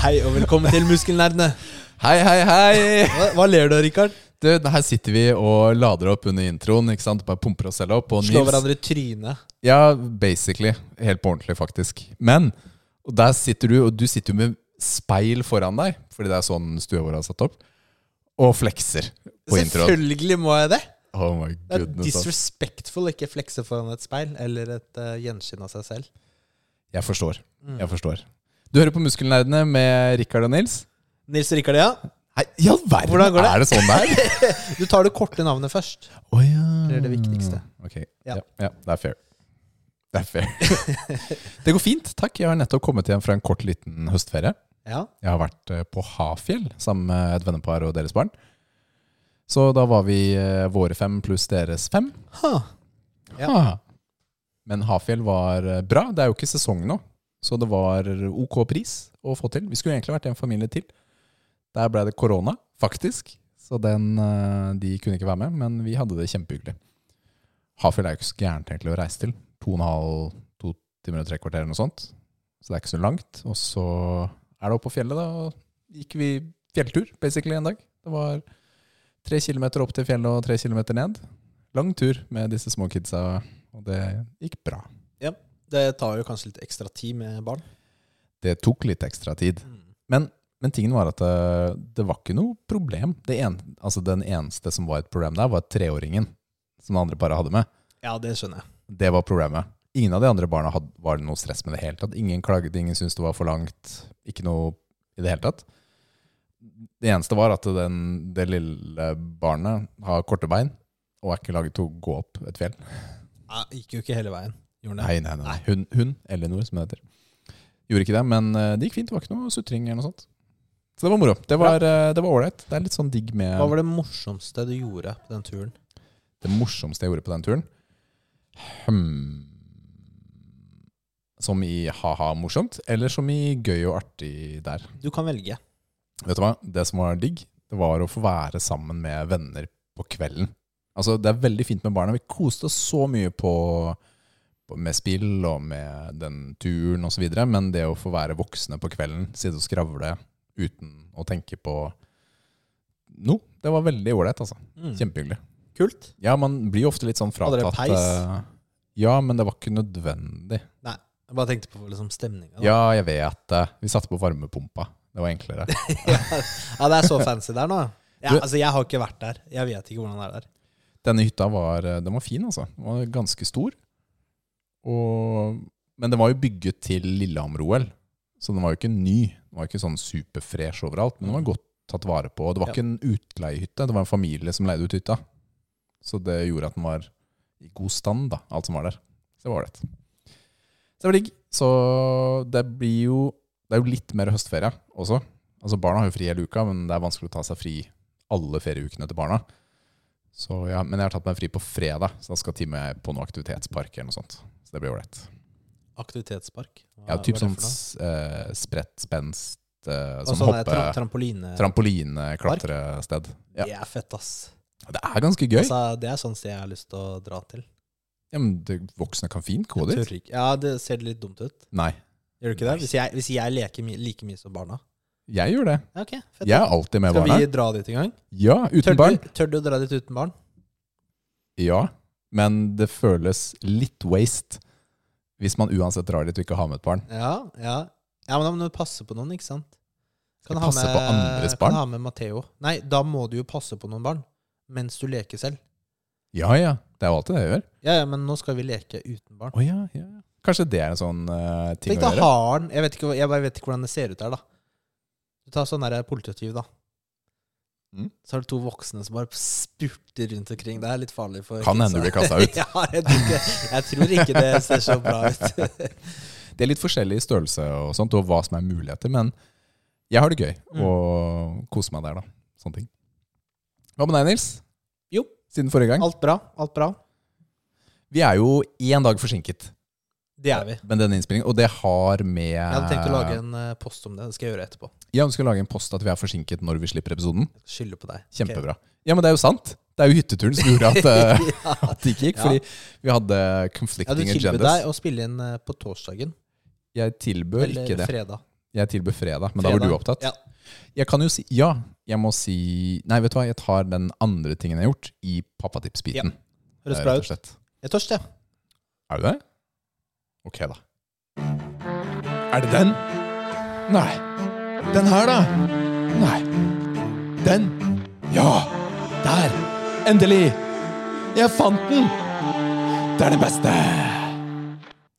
Hei og velkommen til Muskelnerdene. Hei, hei, hei! Hva, hva ler du av, Rikard? Du, her sitter vi og lader opp under introen. ikke sant? Bare pumper oss selv opp. Og Slå Nils- hverandre i trynet. Ja, basically. Helt på ordentlig, faktisk. Men og der sitter du, og du sitter jo med speil foran deg, fordi det er sånn stua vår er satt opp, og flekser på introen. Selvfølgelig må jeg det. Oh my Det er goodness. ass. disrespectful å ikke flekse foran et speil eller et eh, gjenskinn av seg selv. Jeg forstår. Mm. Jeg forstår. Du hører på Muskelnerdene med Rikard og Nils. Nils og Rikard, ja. Nei, i all verden! Hvordan går det? Er det sånn det er? Du tar det korte navnet først. Å ja. Det er det viktigste. Ok, Ja. ja. Ja, det er fair. Det er fair. det går fint, takk. Jeg har nettopp kommet hjem fra en kort liten høstferie. Ja. Jeg har vært eh, på Hafjell sammen med et vennepar og deres barn. Så da var vi eh, våre fem pluss deres fem. Ha. Ja. Ha. Men Hafjell var eh, bra. Det er jo ikke sesong nå, så det var ok pris å få til. Vi skulle egentlig vært en familie til. Der ble det korona, faktisk. Så den, eh, de kunne ikke være med, men vi hadde det kjempehyggelig. Hafjell er jo ikke så gærent egentlig å reise til. To og en halv, to timer og tre kvarter eller noe sånt. Så det er ikke så langt. Og så er det opp på fjellet, da. Og gikk vi fjelltur, basically, en dag. Det var tre kilometer opp til fjellet og tre kilometer ned lang tur med disse små kidsa, og det gikk bra. Det tar jo kanskje litt ekstra tid med barn. Det tok litt ekstra tid. Men, men tingen var at det, det var ikke noe problem. Det en, altså den eneste som var et problem der, var treåringen som det andre paret hadde med. Ja, det skjønner jeg. Det var problemet. Ingen av de andre barna hadde, var det noe stress med det hele tatt. Ingen klaget, ingen syntes det var for langt. Ikke noe i det hele tatt. Det eneste var at den, det lille barnet har korte bein og er ikke laget til å gå opp et fjell. Ja, gikk jo ikke hele veien. Gjorde den det? Nei, nei, nei. nei. Hun, hun Elinor, som det heter. Gjorde ikke det, men eh, det gikk fint. Det var ikke noe sutring eller noe sånt. Så det var moro. Det var eh, det var ålreit. Det er litt sånn digg med Hva var det morsomste du gjorde på den turen? det morsomste jeg gjorde på den turen. Hmm. Som i ha-ha morsomt, eller som i gøy og artig der. Du kan velge. Vet du hva? Det som var digg, det var å få være sammen med venner på kvelden. Altså, det er veldig fint med barna. Vi koste oss så mye på, på, med spill og med den turen osv. Men det å få være voksne på kvelden, sitte og skravle uten å tenke på noe, det var veldig ålreit. Altså. Mm. Kjempehyggelig. Kult. Ja, man blir jo ofte litt sånn Hadde fratatt dere peis? eh, Ja, men det var ikke nødvendig. Jeg bare tenkte på liksom stemninga. Ja, jeg vet det. Vi satte på varmepumpa. Det var enklere. Ja, det er så fancy der nå. Ja, Du- altså, jeg har ikke vært der. Jeg vet ikke hvordan det er der. Denne hytta var, den var fin, altså. Den var ganske stor. Og, men den var jo bygget til Lillehammer-OL, så den var jo ikke ny. Den var ikke sånn superfresh overalt, men den var godt tatt vare på. Og det var Ja. ikke en utleiehytte, det var en familie som leide ut hytta. Så det gjorde at den var i god stand, da, alt som var der. Så det var ålreit. Så det var digg. Så det blir jo Det er jo litt mer høstferie også. Altså Barna har jo fri hele uka, men det er vanskelig å ta seg fri alle ferieukene til barna. Så ja, Men jeg har tatt meg fri på fredag, så da skal Tim og jeg på noe aktivitetspark. eller noe sånt. Så det blir ålreit. Aktivitetspark? Hva- Ja, hva typ er det for sånn noe? eh, spredt, spenst, eh, Og sånn sånn der hoppe... tra trampoline. Trampoline-klatrested. Ja. Det er fett, ass. Det er ganske gøy. Altså, det er sånn sted jeg har lyst til å dra til. Ja, men det, Voksne kan fint gå Jeg dit. tør ikke- Ja, det ser litt dumt ut. Nei, Gjør det ikke det? Hvis jeg, hvis jeg leker mi like mye som barna. jeg gjør det. Ja, ok, fett. Jeg er alltid med Skal barna. vi dra dit en gang? Ja, Tør uten barn. du, tør du dra dit uten barn? Ja, men det føles litt waste hvis man uansett drar dit og ikke har med et barn. Ja, ja. Ja, men da må du passe på noen, ikke sant? Skal passe på andres barn? Kan ha med Matteo. Nei, da må du jo passe på noen barn mens du leker selv. Ja, ja. Det er jo alltid det jeg gjør. Ja, ja, men nå skal vi leke uten barn. Å, ja, ja. Kanskje det er en sånn eh, ting Tenk å da gjøre. har den Jeg vet ikke, jeg bare vet ikke hvordan det ser ut der, da. Du tar sånn der politityv, da. Mm. Så har du to voksne som bare spurter rundt omkring. Det er litt farlig for Kan hende du blir kasta ut. ja, jeg, tror ikke, jeg tror ikke det ser så bra ut. Det er litt forskjellig i størrelse og sånt, og hva som er muligheter, men Jeg har det gøy Mm. og koser meg der, da. Sånne ting. Hva med deg, Nils? Jo. Siden forrige gang. Alt bra. Alt bra. Vi er jo én dag forsinket Det er vi. med denne innspillingen, og det har med Jeg hadde tenkt å lage en eh, post om det. Det skal jeg gjøre etterpå. Jeg ønsker å lage en post at vi er forsinket når vi slipper episoden. Jeg skal skylde på deg. Kjempebra. Ja, men det er jo sant. Det er jo hytteturen som gjorde at, eh, Ok. ja. at det ikke gikk, Ja. fordi vi hadde Jeg hadde conflicting tilbudt agendas. deg å spille inn eh, på torsdagen. Jeg tilbød Eller ikke det. fredag. Jeg tilbød fredag, men da var Fredag. du opptatt. Ja. Jeg kan jo si ja. Jeg må si Nei, vet du hva, jeg tar den andre tingen jeg har gjort, i pappatips-biten. Høres eh, bra rett ut. og slett. Jeg er tørst, jeg. Er du det? Ok, da. Er det den? Nei. Den her, da? Nei. Den? Ja! Der! Endelig! Jeg fant den! Det er det beste!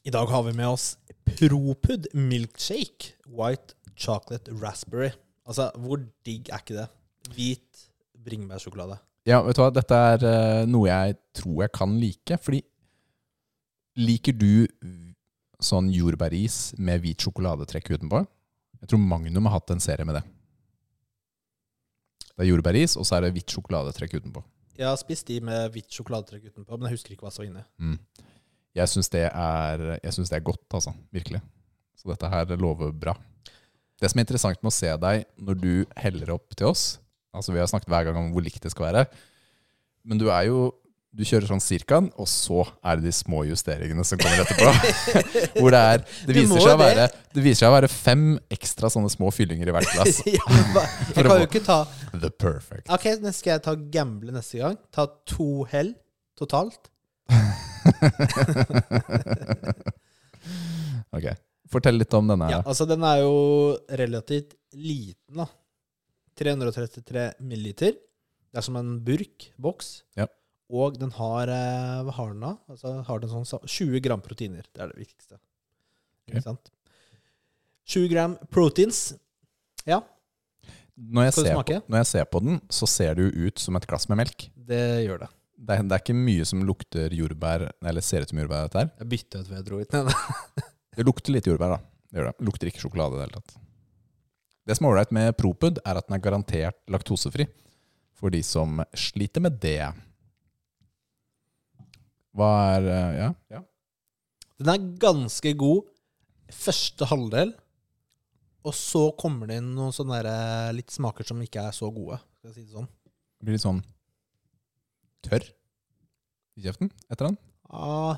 I dag har vi med oss Propud milkshake white chocolate raspberry. Altså, hvor digg er ikke det? Hvit bringebærsjokolade. Ja, vet du hva, dette er eh, noe jeg tror jeg kan like, fordi liker du sånn jordbæris med hvit sjokoladetrekk utenpå? Jeg tror Magnum har hatt en serie med det. Det er jordbæris, og så er det hvitt sjokoladetrekk utenpå. Jeg har spist de med hvitt sjokoladetrekk utenpå, men jeg husker ikke hva som var inni. Jeg syns det, er- jeg synes det er godt, altså. Virkelig. Så dette her lover bra. Det som er interessant med å se deg når du heller opp til oss Altså Vi har snakket hver gang om hvor likt det skal være. Men du er jo Du kjører sånn cirkaen, og så er det de små justeringene som kommer etterpå. Hvor det er Det Du viser må seg å jo være, det viser seg å være fem ekstra sånne små fyllinger i hvert glass. ja, men hva- jeg kan jo ikke ta The perfect. Ok, nå skal jeg ta gamble neste gang. Ta to hell totalt. Ok. Fortell litt om denne. Ja, her. altså, den er jo relativt liten, da. 333 milliliter. Det er som en burk, boks. Ja. Og den har eh, Hva har den da? Altså, har den sånn sa- 20 gram proteiner. Det er det viktigste. Ok. Ikke sant? 20 gram proteins. Når jeg, Skal du ser på, smake? når jeg ser på den, så ser det jo ut som et glass med melk. Det gjør det. Det er, det er ikke mye som lukter jordbær, eller ser ut som jordbær. dette her. Jeg bytta ut hva jeg dro ut. Nei, nei. Det lukter litt jordbær, da. Det gjør det. Lukter ikke sjokolade i det hele tatt. Det som er ålreit med Propud, er at den er garantert laktosefri. For de som sliter med det. Hva er eh, Ja? ja. Den er ganske god første halvdel, og så kommer det inn noen sånne der, eh, litt smaker som ikke er så gode. Skal jeg si det sånn. Blir litt sånn tørr i kjeften etter den. Ah,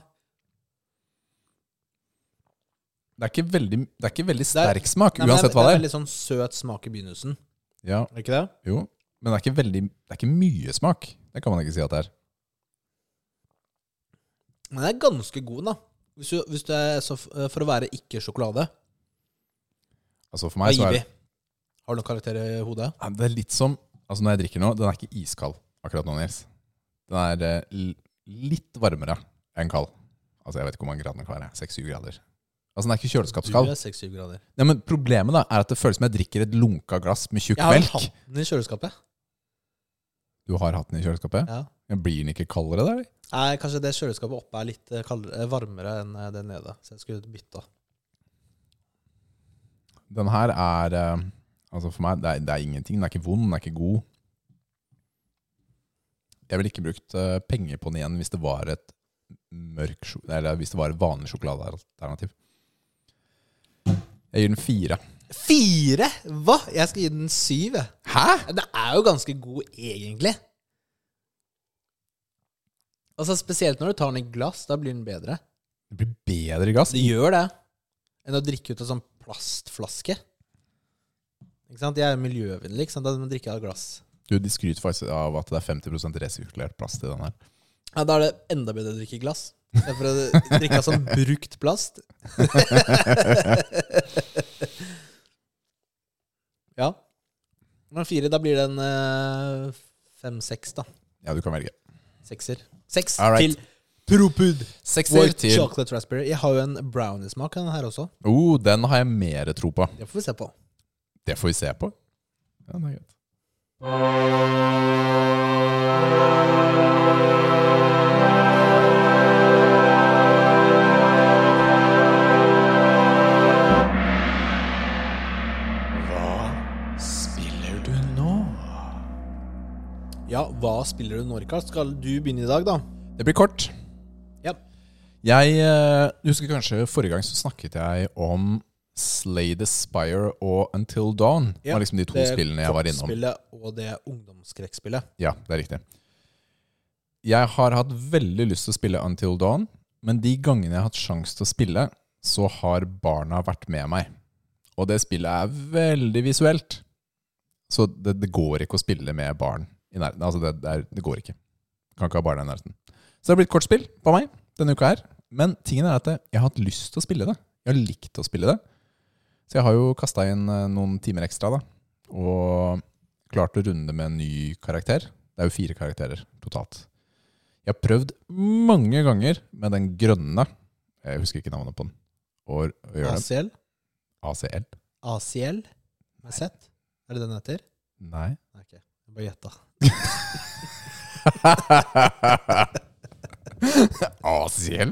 Det er ikke veldig, det er ikke veldig Det er- sterk smak, nei, men uansett hva det Det er er. veldig sånn søt smak i begynnelsen. Ja, Er det ikke det? jo. Men det er, ikke veldig, det er ikke mye smak. Det kan man ikke si at det er. Men den er ganske god, da. Hvis du, hvis du er så, f- eh, for å være ikke sjokolade, Altså for hva meg så gir er vi? Har du noen karakter i hodet? Ja, det er litt som Altså Når jeg drikker nå, den er ikke iskald akkurat nå, Nils. Den er eh, l- litt varmere enn kald. Altså Jeg vet ikke hvor mange grader den kan være. 6-7 grader. Altså Den er ikke kjøleskapskald. Du er 6-7 grader. Nei, men Problemet da er at det føles som jeg drikker et lunka glass med tjukk Jeg har melk. hatt den i kjøleskapet. Du har hatt den i kjøleskapet? Ja. Men Blir den ikke kaldere da? eller? Nei, kanskje det kjøleskapet oppe er litt eh, kaldere, eh, varmere enn eh, det nede. Så jeg skulle bytta. Den her er eh, Altså For meg, det er, det er ingenting. Den er ikke vond, den er ikke god. Jeg ville ikke brukt eh, penger på den igjen hvis det var et mørk, sjo- eller hvis det var et vanlig sjokoladealternativ. Jeg gir den fire. Fire? Hva? Jeg skal gi den syv, jeg. Hæ?! Den er jo ganske god, egentlig. Altså Spesielt når du tar den i glass. Da blir den bedre. Det blir bedre i gass. Det gjør det. Enn å drikke ut av sånn plastflaske. Ikke sant? Jeg er miljøvennlig. ikke sant? Da må du drikke av glass. Du, De skryter faktisk av at det er 50 resirkulert plast i den her. Ja, Da er det enda bedre å drikke i glass. Istedenfor å drikke av sånn brukt plast. ja. Men fire, da blir det en eh, fem-seks, da. Ja, du kan velge. Sekser. Seks All right. til Propud. Sekser White til chocolate raspberry. Jeg har jo en brownie-smak av den her også. Oh, den har jeg mer tro på. Det får vi se på. Det får vi se på. Ja, det er greit. Hva spiller du nå? Ja, hva spiller du nå, Rikard? Skal du begynne i dag, da? Det blir kort. Ja. Jeg eh, husker kanskje forrige gang så snakket jeg om Slay the Spire og Until Dawn. Det Ja, var liksom de to Det spillene jeg var innom. kortspillet og det ungdomsskrekkspillet. Ja, det er riktig. Jeg har hatt veldig lyst til å spille Until Dawn, men de gangene jeg har hatt sjanse til å spille, så har barna vært med meg. Og det spillet er veldig visuelt. Så det, det går ikke å spille med barn i nærheten. Altså, det, det, er, det går ikke. Kan ikke ha barna i nærheten. Så det har blitt kortspill på meg denne uka her. Men tingen er at jeg har hatt lyst til å spille det. Jeg har likt å spille det. Så jeg har jo kasta inn eh, noen timer ekstra, da. Og klart å runde med en ny karakter. Det er jo fire karakterer totalt. Jeg har prøvd mange ganger med den grønne Jeg husker ikke navnet på den. Og, og gjør det. ACL? ACL? ACL? Med Z? Er det den heter? Nei. Nei, ok. Jeg bare gjetta. ACL?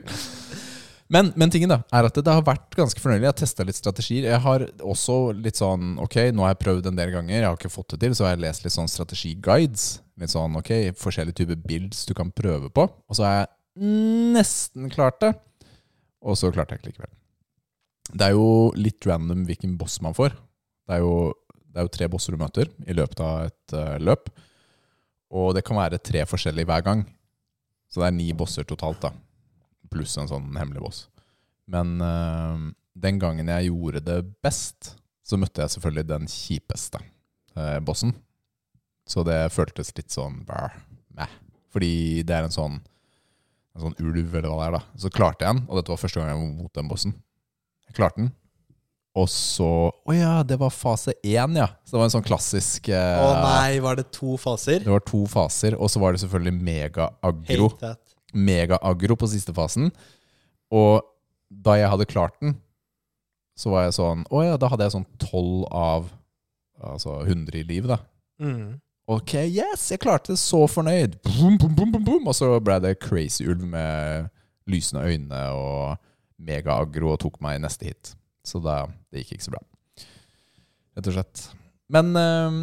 Men, men tingen da, er at det, det har vært ganske fornøyelig. Jeg har testa litt strategier. Jeg har også litt sånn Ok, nå har jeg prøvd en del ganger, jeg har ikke fått det til, så har jeg lest litt sånn strategiguides. Litt sånn ok, forskjellige typer builds du kan prøve på. Og så har jeg nesten klart det. Og så klarte jeg ikke likevel. Det er jo litt random hvilken boss man får. Det er jo, det er jo tre bosser du møter i løpet av et eh, løp. Og det kan være tre forskjellige hver gang. Så det er ni bosser totalt, da. Pluss en sånn hemmelig boss. Men eh, den gangen jeg gjorde det best, så møtte jeg selvfølgelig den kjipeste eh, bossen. Så det føltes litt sånn brr, meh. Fordi det er en sånn En sånn ulv, eller hva det er, da. Så klarte jeg den, og dette var første gang jeg var mot den bossen. Jeg klarte den. Og så Å ja, det var fase én, ja. Så det var en sånn klassisk eh, Å nei, var det to faser? det var to faser, og så var det selvfølgelig mega-agro. Hate that. Mega-agro på siste fasen. Og da jeg hadde klart den, så var jeg sånn Å ja, da hadde jeg sånn 12 av altså 100 i liv, da. Mm. Ok, yes, jeg klarte det. Så fornøyd. Boom, boom, boom, boom, boom. Og så ble det crazy ulv med lysende øyne og mega-agro og tok meg i neste hit. Så da, det gikk ikke så bra. Rett og slett. Men, eh,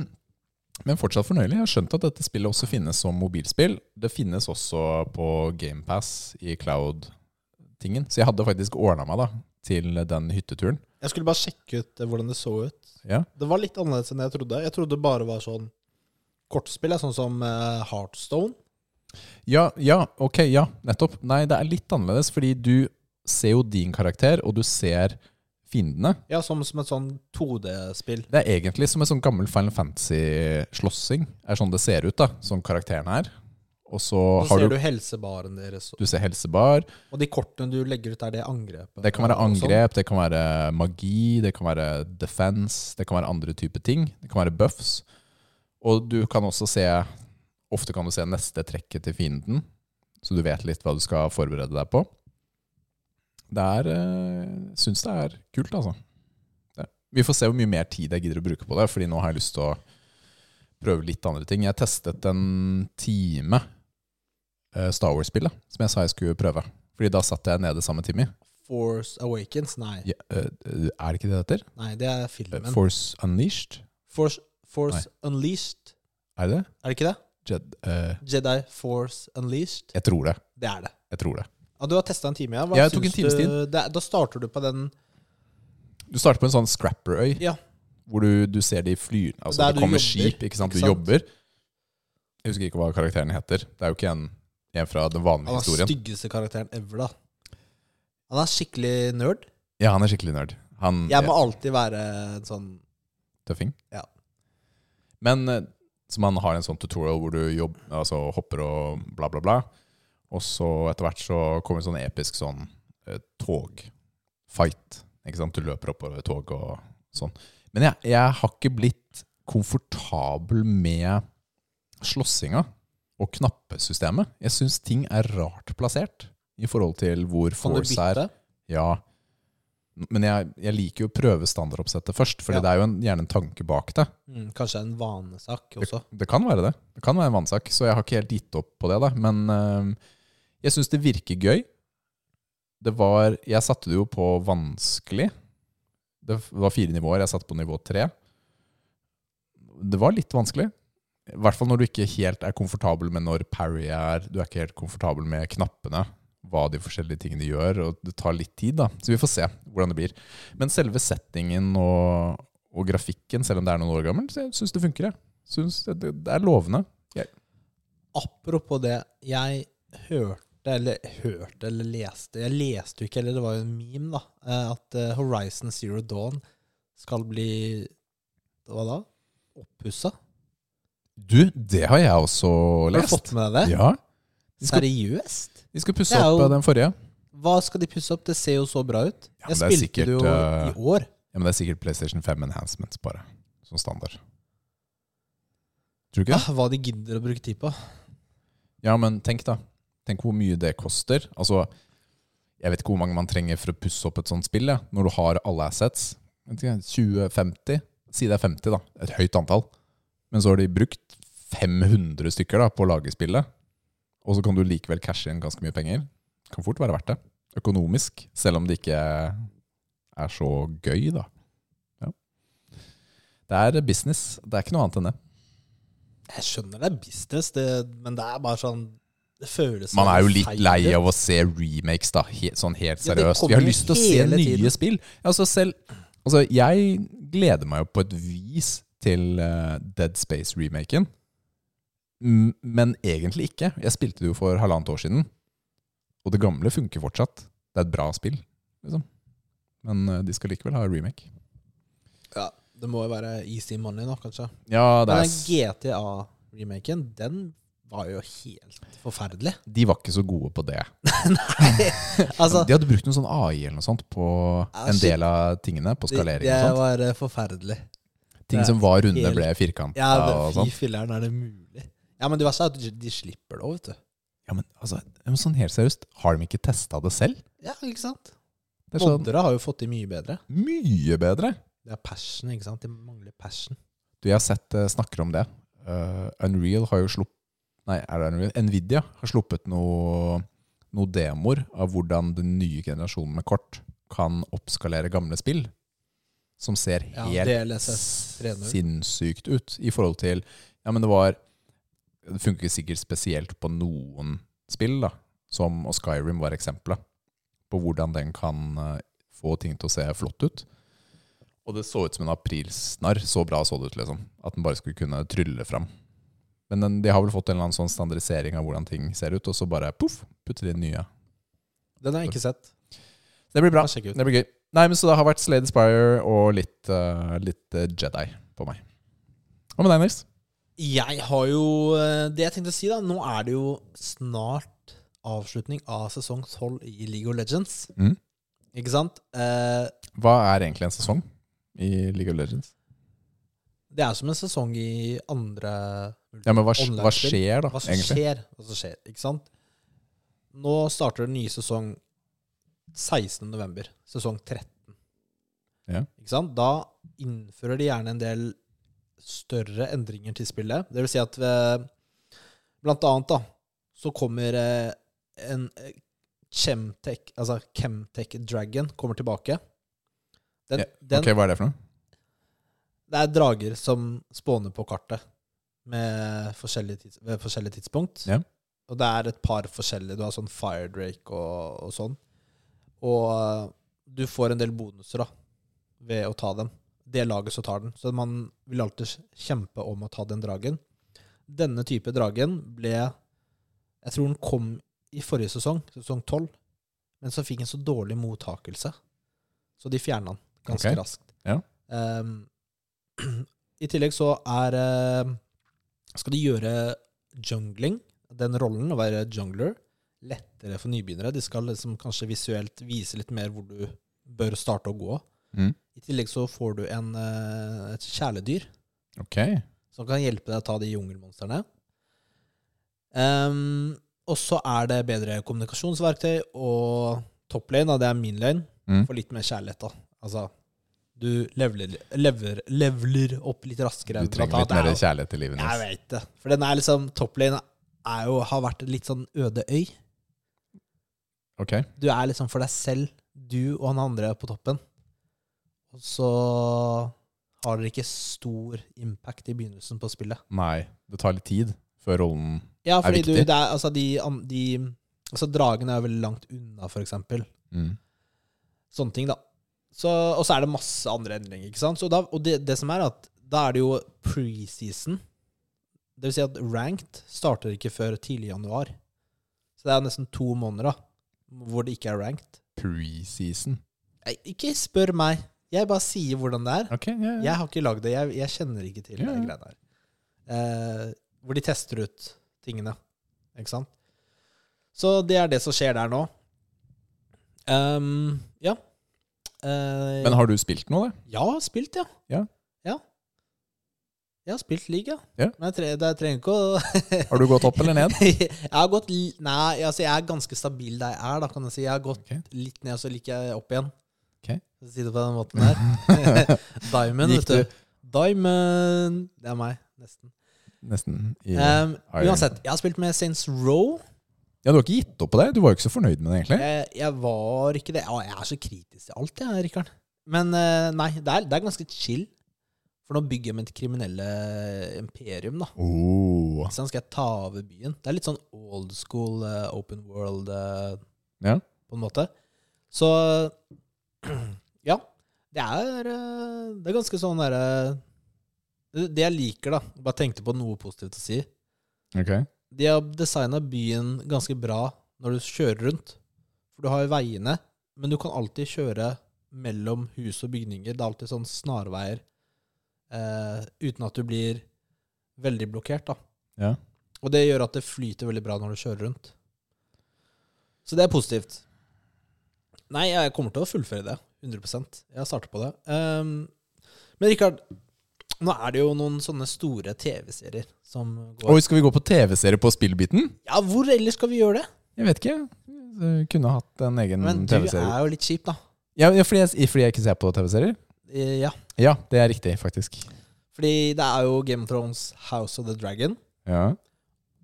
men fortsatt fornøyelig. Jeg har skjønt at dette spillet også finnes som mobilspill. Det finnes også på GamePass i cloud-tingen. Så jeg hadde faktisk ordna meg da, til den hytteturen. Jeg skulle bare sjekke ut eh, hvordan det så ut. Ja. Det var litt annerledes enn jeg trodde. Jeg trodde det bare var sånn kortspill, ja, sånn som eh, Heartstone. Ja, ja, ok, ja, nettopp. Nei, det er litt annerledes, fordi du ser jo din karakter, og du ser fiendene. Ja, som, som et sånn 2D-spill. Det er egentlig som en sånn gammel Final Fantasy-slåssing. er sånn det ser ut, da. Sånn karakteren er. Og så Så har ser du du helsebaren deres. Du ser helsebar. Og de kortene du legger ut, er det angrepet. Det kan være og sånn. angrep, det kan være magi, det kan være defense, det kan være andre typer ting. Det kan være buffs. Og du kan også se Ofte kan du se neste trekket til fienden, så du vet litt hva du skal forberede deg på. Det er eh, Syns det er kult, altså. Det. Vi får se hvor mye mer tid jeg gidder å bruke på det, Fordi nå har jeg lyst til å prøve litt andre ting. Jeg testet en time eh, Star Wars-spillet, som jeg sa jeg skulle prøve. Fordi da satt jeg nede samme time. Force Awakens? Nei. Ja, øh, øh, er det ikke det det heter? Nei, det er filmen. Force Unleashed? Force, Force Unleashed. Er det det? Er det ikke det? Jed, øh, Jedi Force Unleashed. jeg tror det. Det er det. Jeg tror det. Ja, du har testa en time, ja. Jeg tok en syns times du- tid. det er- Da starter du på den Du starter på en sånn scrapperøy, Ja. hvor du, du ser de flyr Altså, Der det du kommer jobber, skip, ikke sant? Du ikke sant? jobber. Jeg husker ikke hva karakteren heter. Det er jo ikke en, en fra den vanlige Han er historien. styggeste karakteren ever, da. Han er skikkelig nerd. Ja, han er skikkelig nerd. Han Jeg må er alltid være en sånn tøffing. Ja. Men øh, som han har en sånn tutorial hvor du jobb, altså, hopper og bla, bla, bla. Og så etter hvert så kommer en sånn episk sånn eh, togfight. Ikke sant? Du løper oppover et tog og sånn. Men jeg, jeg har ikke blitt komfortabel med slåssinga og knappesystemet. Jeg syns ting er rart plassert i forhold til hvor Kan du force er. bytte? Ja. Men jeg, jeg liker jo å prøve standardoppsettet først, for Ja. det er jo en, gjerne en tanke bak det. mm, Kanskje en vanesak også. Det kan være det. Det kan være en vannsak, så jeg har ikke helt gitt opp på det. da. Men øhm, jeg syns det virker gøy. Det var, jeg satte det jo på vanskelig. Det f- var fire nivåer. Jeg satte på nivå tre. det var litt vanskelig. I hvert fall når du ikke helt er komfortabel med når Parry er. Du er ikke helt komfortabel med knappene, hva de forskjellige tingene gjør. Og det tar litt tid, da. Så vi får se hvordan det blir. Men selve settingen og, og grafikken, selv om det er noen år gammel, så jeg syns det funker. Jeg. Synes det, det det er lovende. Apropos det, jeg hørte eller hørte eller leste Jeg leste jo ikke, eller det var jo en meme, da, eh, at eh, Horizon Zero Dawn skal bli Hva da? Oppussa? Du, det har jeg også Har du fått lest. med deg det? Ja. De skal, Seriøst? de skal pusse Det er opp jo- eh, den forrige. Hva skal de pusse opp? Det ser jo så bra ut. jeg Ja, men det er spilte sikkert, det jo eh, i år. Ja, men det er sikkert PlayStation 5 Enhancements bare, som standard. Tror du ikke det? Ah, hva de gidder å bruke tid på. Ja, men tenk da. Tenk hvor mye det koster. Altså, jeg vet ikke hvor mange man trenger for å pusse opp et sånt spill, ja. når du har alle assets. Vet ikke, 20-50? Si det er 50, da. Et høyt antall. Men så har de brukt 500 stykker da, på å lage spillet. Og så kan du likevel cashe inn ganske mye penger. Kan fort være verdt det. Økonomisk. Selv om det ikke er så gøy, da. Ja. Det er business. Det er ikke noe annet enn det. Jeg skjønner det er business, det, men det er bare sånn Det føles Man er jo feil litt lei ut. av å se remakes, da. He, sånn helt Ja, det seriøst. kommer Vi har jo lyst til å se hele nye tiden. spill. Altså selv, altså jeg gleder meg jo på et vis til eh, Dead Space-remaken. Mm, Men egentlig ikke. Jeg spilte det jo for halvannet år siden. Og det gamle funker fortsatt. Det er et bra spill, liksom. Men eh, de skal likevel ha remake. Ja, det må jo være easy money nå, kanskje. Ja, Men det er, den s- GTA-remaken, den var jo helt forferdelig. de var ikke så gode på det. Altså, de hadde brukt noe sånn AI eller noe sånt på Ja, en shit. del av tingene, på det, skalering det og sånt. var eh, forferdelig. Ting som var runde, Helt- ble firkanta Ja, og men sånn. Fy filleren, er det mulig? Ja, men det verste er at de- de slipper det òg, vet du. Ja, men altså, men sånn helt seriøst, har de ikke testa det selv? Ja, ikke sant? Det er sånn Moddere har jo fått til mye bedre. mye bedre. Det er passion, ikke sant? De mangler passion. Du, jeg har sett eh, snakker om det. Eh, Unreal har jo sluppet Nei, er det Unreal? Nvidia har sluppet noe, noe demoer av hvordan den nye generasjonen med kort kan oppskalere gamle spill. Som ser Ja, helt DLSS 3.0. sinnssykt ut i forhold til Ja, men det var Det funker sikkert spesielt på noen spill, da. Som og Skyrim var eksempelet på hvordan den kan eh, få ting til å se flott ut. Og det så ut som en aprilsnarr. Så bra så det ut, liksom. At den bare skulle kunne trylle fram. Men den, de har vel fått en eller annen sånn standardisering av hvordan ting ser ut, og så bare poff, putter de inn nye. Den har jeg ikke sett. Det blir bra. Jeg sjekker ut. Det blir gøy. Nei, men Så det har vært Slade Spire og litt, eh, litt eh, Jedi på meg. Hva med deg, Nils? Jeg har jo eh, Det jeg tenkte å si, da. Nå er det jo snart avslutning av sesong 12 i League of Legends. Mhm. Ikke sant? Eh, Hva er egentlig en sesong i League of Legends? Det er som en sesong i andre Ja, men Hva, Online hva spill. skjer, da? Hva som egentlig? skjer, hva som skjer, ikke sant? Nå starter den nye sesong 16. november, sesong 13. Ja. Ikke sant? Da innfører de gjerne en del større endringer til spillet. Det vil si at ved, blant annet da, så kommer eh, en eh, Chemtech, altså Chemtech Dragon kommer tilbake. Den, Ja, den, Ok, Hva er det for noe? det er drager som spåner på kartet med forskjellige tids, ved forskjellige tidspunkt. Ja. Og det er et par forskjellige. Du har sånn Fire Drake og, og sånn. Og eh, du får en del bonuser da, ved å ta dem. Det laget som tar den. Så man vil alltid kjempe om å ta den dragen. Denne type dragen ble Jeg tror den kom i forrige sesong, sesong 12, men så fikk den så dårlig mottakelse, så de fjerna den ganske Ok. raskt. Ja. Ehm, I tillegg så er eh, Skal de gjøre jungling, den rollen, å være jungler, lettere for nybegynnere. De skal liksom kanskje visuelt vise litt mer hvor du bør starte å gå. Mm. I tillegg så får du en, eh, et kjæledyr Ok, som kan hjelpe deg å ta de jungelmonstrene. Ehm, og så er det bedre kommunikasjonsverktøy, og top lane, da, det er min lane, Mm. får litt mer kjærlighet. da. Altså, du leveler, lever, leveler opp litt raskere. Du enn trenger blant litt annet mer er- kjærlighet i livet. Jeg Nils. vet det. For den er liksom, top lane er jo, har vært litt sånn øde øy. Ok, Du er liksom for deg selv, du og han andre på toppen. Og så har dere ikke stor impact i begynnelsen på spillet. Nei, det tar litt tid før rollen Ja, fordi du, viktig. det er, altså, de, an- de altså, Dragene er veldig langt unna, for eksempel. mm. Sånne ting, da. Så, og så er det masse andre endringer. ikke sant? Så da, og det, det som er at da er det jo preseason. Det vil si at ranked starter ikke før tidlig i januar. Så det er nesten to måneder da, hvor det ikke er ranked. Preseason. Nei, Ikke spør meg. Jeg bare sier hvordan det er. Ok, ja, ja. Jeg har ikke lagd det. Jeg, jeg kjenner ikke til Ja, det ja. greiene her. Eh, hvor de tester ut tingene. Ikke sant? Så det er det som skjer der nå. Ehm, ja. Eh, Men har du spilt noe, da? ja, jeg har spilt, ja. Ja. ja. Jeg har spilt liga. Ja. Men jeg, tre, jeg trenger ikke å Har du gått opp eller ned? Jeg har gått li Nei, altså, jeg er ganske stabil der jeg er, da, kan jeg si. Jeg har gått Ok. litt ned, og så liker jeg opp igjen. Ok. For å Si det på den måten der. Diamond, Gikk vet du. Diamond Det er meg, nesten. Nesten i Ehm, Iron. uansett, jeg har spilt med Saints Row. Ja, du har ikke gitt opp på det? Du var jo ikke så fornøyd med det, egentlig? Jeg, jeg var ikke det. Å, jeg er så kritisk til alt, jeg, Rikard. Men eh, nei, det er, det er ganske chill. For nå bygger jeg mitt kriminelle imperium, da. Oh. Sånn skal jeg ta over byen. Det er litt sånn old school, eh, open world, eh, Ja. på en måte. Så ja. Det er, eh, det er ganske sånn derre det, det jeg liker, da Bare tenkte på noe positivt å si. Ok. De har designa byen ganske bra når du kjører rundt. For du har jo veiene, men du kan alltid kjøre mellom hus og bygninger. Det er alltid sånn snarveier. Eh, uten at du blir veldig blokkert, da. Ja. Og det gjør at det flyter veldig bra når du kjører rundt. Så det er positivt. Nei, jeg kommer til å fullføre det. 100 Jeg har startet på det. Ehm, men Rikard, nå er det jo noen sånne store TV-serier som går Oi, skal vi gå på TV-serie på spillbiten? Ja, hvor ellers skal vi gjøre det? Jeg vet ikke. Du kunne hatt en egen Men du er TV-serie. jo litt kjip, da. Ja, ja, fordi, jeg, fordi jeg ikke ser på TV-serier? Eh, Ja. Ja, det er riktig, faktisk. Fordi det er jo Game of Thrones, House of the Dragon, Ja.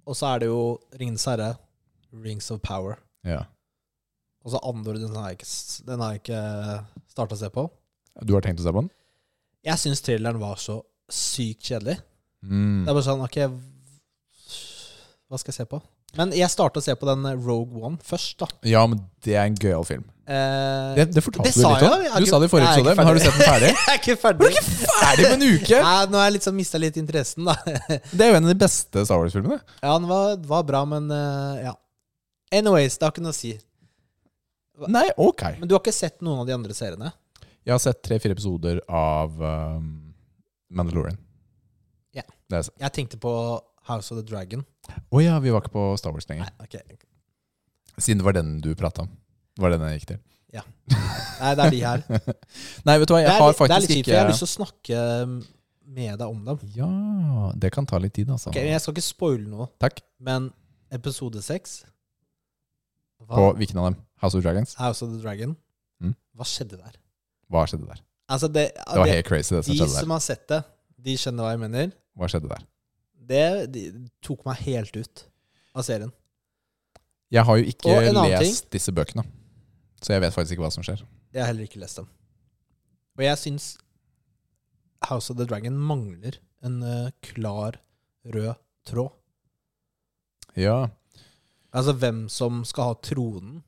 og så er det jo Ringenes herre, Rings of Power. ja. Og så Andor, den har jeg ikke, s- den har jeg ikke starta å se på. Du har tenkt å se på den? Jeg syns traileren var så sykt kjedelig. Det Mm. er bare sånn, ok, hva skal jeg se på? Men jeg startet å se på den eh, Rogue One først da. Ja, men det er en gøyal film. Eh, Det, det fortalte det du sa litt jeg om. jo, jeg er Du ikke- sa det i forrige jeg er ikke episode, men har du sett den ferdig? jeg er ikke ferdig. Ferdig på en uke! Nei, nå har jeg liksom mistet litt interessen da. Det er jo en av de beste Star Wars-filmene. ja, den var, var bra, men eh, ja. Anyways, det har ikke noe å si. Nei, ok. Men du har ikke sett noen av de andre seriene? Jeg har sett tre-fire episoder av um, Mandalorian. Ja. Det har jeg sett. Jeg tenkte på House of the Dragon. Å ja, vi var ikke på Star Wars lenger. Nei, ok. Siden det var den du prata om. Det var den jeg gikk til. Nei, det er de her. Nei, vet du hva, Det er, litt- det jeg har er faktisk litt kjipt, for jeg har lyst ikke til å snakke mm, med deg om dem. Ja, det kan ta litt tid, altså. Ok, men jeg skal ikke spoile noe, Takk. men episode 6 På Ah. hvilken av dem? House of Dragons? House of the Dragon. Mm. Hva skjedde der? Hva skjedde der? Altså det, Det var det, helt crazy, det som de skjedde der. som har sett det, de skjønner hva jeg mener. Hva skjedde der? Det de, tok meg helt ut av serien. Jeg har jo ikke Og en annen lest disse bøkene, så jeg vet faktisk ikke hva som skjer. Jeg har heller ikke lest dem. Og jeg syns House of the Dragon mangler en eh, klar rød tråd. Ja, Altså hvem som skal ha tronen.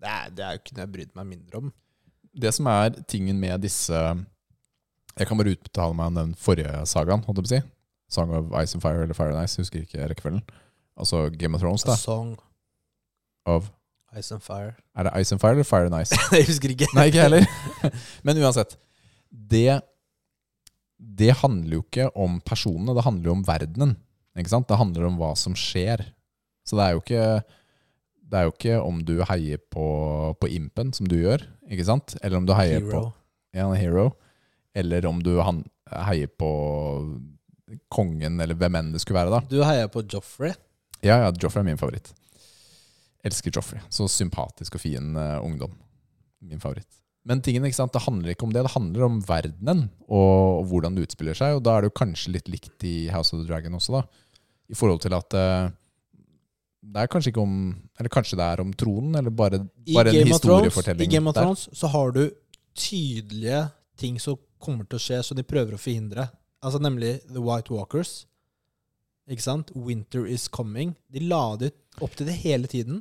Det er, det er jo ikke noe jeg bryr meg mindre om. det som er tingen med disse Jeg kan bare uttale meg om den forrige sagaen, holdt jeg på å si. Song of Ice and Fire eller Fire and Ice, jeg husker ikke rekkefølgen. Altså Game of Thrones, A da. song, Av Ice and Fire Er det Ice and Fire eller Fire and Ice? Jeg husker ikke. Nei, ikke heller. Men uansett. Det, det handler jo ikke om personene, det handler jo om verdenen. Ikke sant? Det handler om hva som skjer. Så det er jo ikke det er jo ikke om du heier på, på impen, som du gjør, ikke sant? eller om du heier på Hero. ja, en hero. Eller om du han, heier på kongen, eller hvem enn det skulle være. da. Du heier på Joffrey. Ja, ja, Joffrey er min favoritt. Elsker Joffrey. Så sympatisk og fin eh, ungdom. Min favoritt. Men tingen, ikke sant, det handler ikke om det. Det handler om verdenen og, og hvordan det utspiller seg. Og da er det jo kanskje litt likt i House of the Dragon også, da. I forhold til at eh, det er kanskje ikke om Eller kanskje det er om tronen, eller bare, I bare en Game, of Thrones, I historiefortelling. Game of der. Thrones så har du tydelige ting som kommer til å skje, som de prøver å forhindre. Altså nemlig The White Walkers. Ikke sant? Winter is coming. De la det opp til det hele tiden.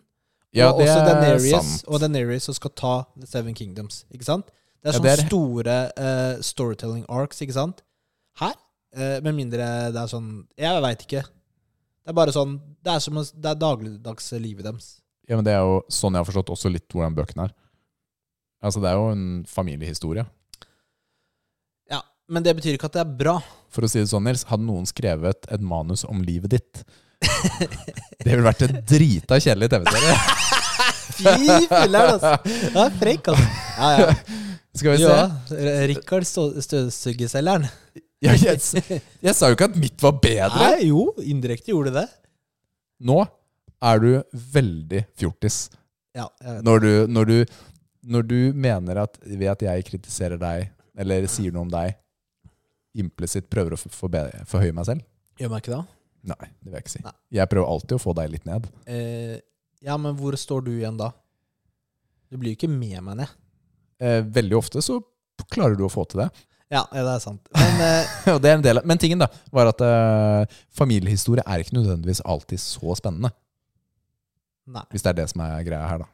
Ja, og det også er Daenerys, sant. Og Daenerys som skal ta The Seven Kingdoms. Ikke sant? Det er Ja, sånne det er- store eh, storytelling arcs, ikke sant? Her? Eh, med mindre det er sånn Jeg veit ikke. Det er bare sånn Det er, som, å- det er dagligdags livet deres. Ja, men det er jo sånn jeg har forstått også litt hvordan bøkene er. Altså, det er jo en familiehistorie. Ja, Men det betyr ikke at det er bra. For å si det sånn, Nils, hadde noen skrevet et manus om livet ditt Det ville vært en drita kjedelig TV-serie. Fy filler'n, altså! Du er frekk, altså. Ja, ja. Skal vi se? ja R- Rikard Stå- støvsugerselgeren. Ja, jeg, s- jeg sa jo ikke at mitt var bedre. Nei, jo, indirekte gjorde det. Nå er du veldig fjortis. Ja, jeg vet. Når du, når du, når du mener at ved at jeg kritiserer deg, eller sier noe om deg, implisitt prøver å f- forbe- forhøye meg selv. Gjør meg ikke det? Nei, det vil jeg ikke si. Nei. Jeg prøver alltid å få deg litt ned. Eh, ja, men hvor står du igjen da? Du blir jo ikke med meg ned. Eh, veldig ofte så p- klarer du å få til det. Ja, ja, det er sant. Men eh, Og det er en del av, men tingen da, var at eh, familiehistorie er ikke nødvendigvis alltid så spennende. nei. Hvis det er det som er greia her, da.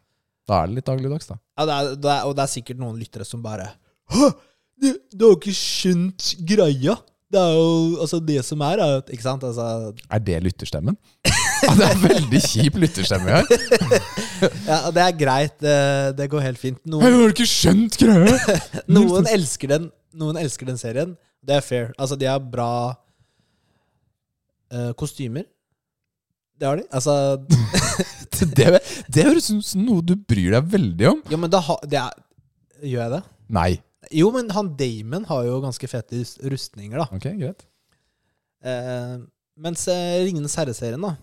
Da er det litt dagligdags, da. Ja, det er, det er, og det er sikkert noen lyttere som bare Hå! Du, du har ikke skjønt greia! Det er jo altså det som er, er at Ikke sant? Altså, Er det lytterstemmen? Ja, det er veldig kjip lytterstemme vi har. ja, det er greit. Det, det går helt fint. Jeg Noen, har ikke skjønt greia! noen, elsker den, noen elsker den serien. Det er fair. Altså, de har bra eh, kostymer. Det har de. Altså, Det, det høres ut som noe du bryr deg veldig om. jo, men da ha, det er, Gjør jeg det? Nei. Jo, men han Damon har jo ganske fete rust- rustninger, da. Ok, greit. Eh, mens eh, Ringenes herre-serien, da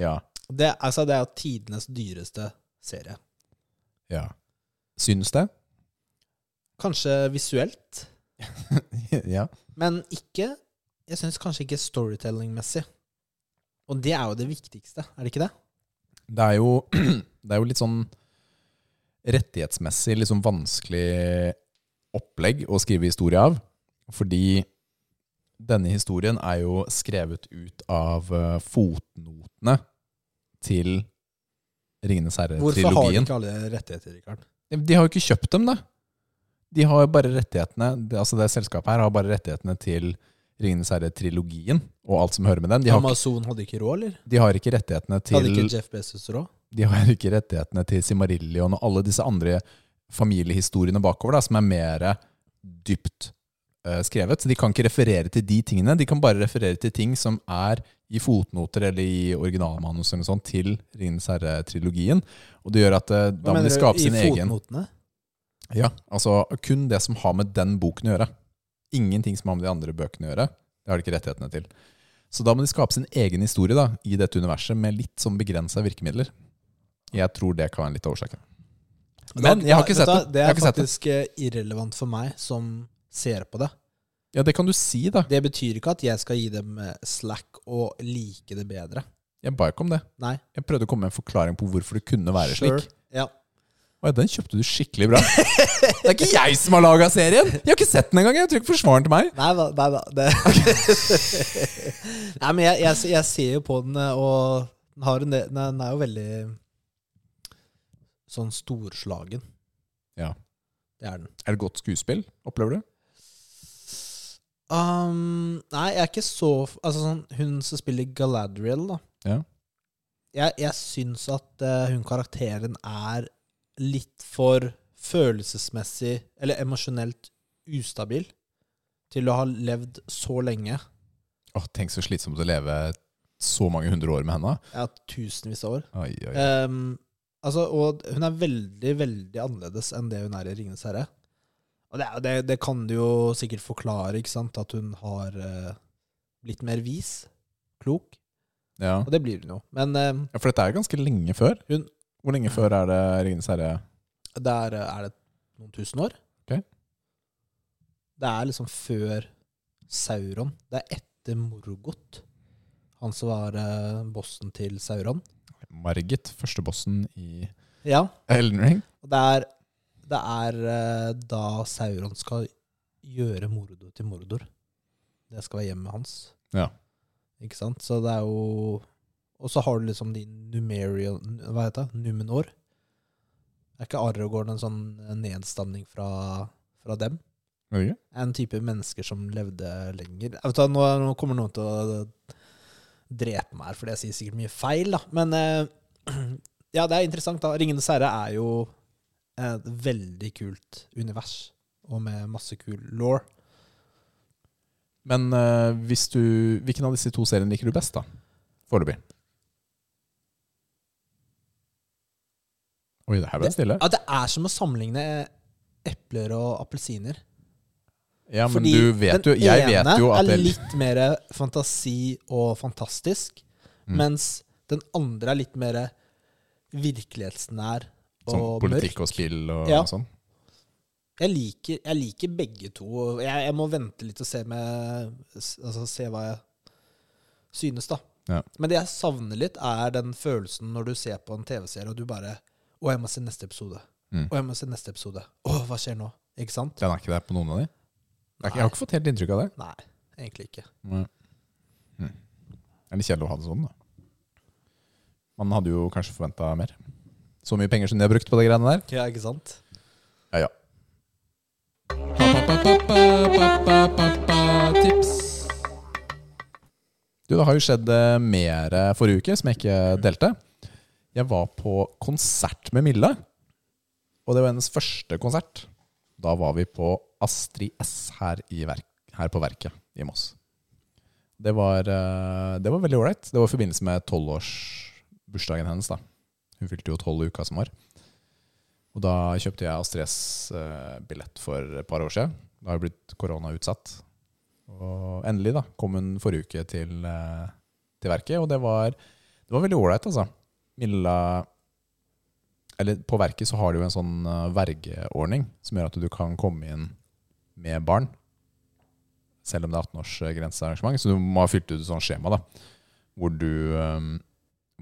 Ja. det, altså, det er jo tidenes dyreste serie. ja. Syns det? Kanskje visuelt, ja. men ikke Jeg syns kanskje ikke storytelling-messig. Og det er jo det viktigste, er det ikke det? Det er jo, det er jo litt sånn rettighetsmessig litt sånn vanskelig opplegg å skrive historie av. Fordi denne historien er jo skrevet ut av eh, fotnotene til Ringenes Hvorfor har de herre-trilogien. ikke alle rettigheter, Rikard? De har jo ikke kjøpt dem, da. De har jo bare rettighetene det, Altså det selskapet her har bare rettighetene til Ringenes herre-trilogien og alt som hører med den. De har, Amazon hadde ikke råd, eller? ikke- de har ikke rettighetene til Hadde ikke Jeff Bezos råd? de har ikke rettighetene til Simarillion og alle disse andre familiehistoriene bakover, da, som er mer dypt eh, skrevet. Så de kan ikke referere til de tingene. De kan bare referere til ting som er i fotnoter eller i originalmanus eller noe sånt til Ringenes herre-trilogien. Og det gjør at eh, da må de skape sin i egen fotnotene? Ja, altså kun det som har med den boken å gjøre. Ingenting som har med de andre bøkene å gjøre. Det har de ikke rettighetene til. Så da må de skape sin egen historie da, i dette universet med litt sånn begrensa virkemidler. Jeg tror det kan være litt av årsaken. Men jeg har ikke Vet du sett hva, det. Det Jeg har er ikke sett det. faktisk eh, irrelevant for meg som ser på det. Ja, det kan du si, da. Det betyr ikke at jeg skal gi dem eh, slack og like det bedre. Jeg ba ikke om det. Nei. Jeg prøvde å komme med en forklaring på hvorfor det kunne være Sure. slik. Ja. Å, ja, den kjøpte du skikkelig bra. Det er ikke jeg som har laga serien! Jeg har ikke sett den engang! Jeg tror ikke forsvareren til meg. Nei da. Nei, da det. nei, men jeg, jeg, jeg ser jo på den, eh, og den, har en del, nei, den er jo veldig sånn storslagen. Ja. Det er den. Er det godt skuespill? Opplever du? Um, nei, jeg er ikke så Altså sånn, Hun som spiller Galadriel, da. Ja. Jeg, jeg syns at eh, hun karakteren er litt for følelsesmessig eller emosjonelt ustabil til å ha levd så lenge. Åh, tenk så slitsomt å leve så mange hundre år med henne. Ja, tusenvis av år. Oi, oi, oi. Um, altså, og hun er veldig, veldig annerledes enn det hun er i 'Ringenes herre'. Og det, er- det, det kan du jo sikkert forklare, ikke sant? At hun har eh, blitt mer vis, klok. Ja. Og det blir hun jo. Men eh, Ja, for dette er jo ganske lenge før. Hun- Hvor lenge før er det Ringenes herre? der eh, er det noen tusen år. Ok. Det er liksom før Sauron. Det er etter Morgoth. Han som var eh, bossen til Sauron. Margit, første bossen i Ja. Elden Ring. Og det er, det er eh, da Sauron skal gjøre Mordor til Mordor. Det skal være hjemmet hans. Ja. Ikke sant? Så det er jo Og så har du liksom de Numerial Hva heter det? Numenor. Er ikke Aragorn en sånn nedstamning fra, fra dem? Er det ikke? En type mennesker som levde lenger Jeg vet da, nå, nå kommer noen til å drepe meg her, fordi jeg sier sikkert mye feil, da. Men eh, ja, det er interessant, da. 'Ringenes herre' er jo et veldig kult univers, og med masse kul law. Men eh, hvis du, hvilken av disse to seriene liker du best, da? Foreløpig. Oi, det her ble det stille. Ja, det er som å sammenligne epler og appelsiner. Ja, men Fordi du vet jo Jeg Den vet ene jo at er det, litt mer fantasi og fantastisk, Mm. mens den andre er litt mer virkelighetsnær og sånn mørk. politikk og spill og, Ja. og sånn. Jeg liker, jeg liker begge to. og Jeg, jeg må vente litt og se, med, s- altså, se hva jeg synes, da. Ja. Men det jeg savner litt, er den følelsen når du ser på en TV-serie og du bare Å, jeg må se neste episode. Mm. Å, jeg må se neste episode. Å, hva skjer nå? Ikke sant? Den er ikke der på noen av de? Det er ikke- Jeg har ikke fått helt inntrykk av det. Nei, egentlig ikke. Nei. Mm. Det er litt kjedelig å ha det sånn, da. Man hadde jo kanskje forventa mer. Så mye penger som de har brukt på de greiene der. Ja, ikke sant? Ja, ja. Tips. Du, det har jo skjedd eh, mer eh, forrige uke som jeg ikke delte. Jeg var på konsert med Mille. Og det var hennes første konsert. Da var vi på Astrid S her, i verk, her på Verket i Moss. Det var, eh, det var veldig ålreit. Det var i forbindelse med tolvårsbursdagen hennes. da. Hun fylte jo tolv i uka som var. Og da kjøpte jeg Astrid S-billett for et par år siden. Da har jeg blitt koronautsatt. Og endelig da, kom hun forrige uke til, eh, til verket, og det var, det var veldig ålreit, altså. Milla Eller på verket så har de jo en sånn eh, vergeordning som gjør at du kan komme inn med barn. Selv om det er 18-årsgrensearrangement, så du må ha fylt ut et sånt skjema da, hvor du, eh,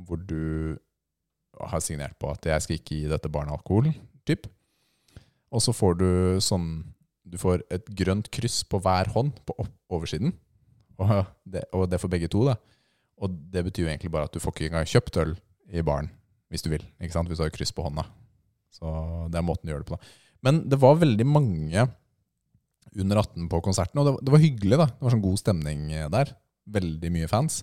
hvor du har signert på at jeg skal ikke gi dette barnet alkohol, typ. Og så får du sånn Du får et grønt kryss på hver hånd på opp oversiden. Og det, og det for begge to, da. Og det betyr jo egentlig bare at du får ikke engang kjøpt øl i baren hvis du vil. ikke sant? Hvis du har kryss på hånda. Så det er måten du gjør det på, da. Men det var veldig mange under 18 på konserten, og det var, det var hyggelig, da. Det var sånn god stemning eh, der. Veldig mye fans.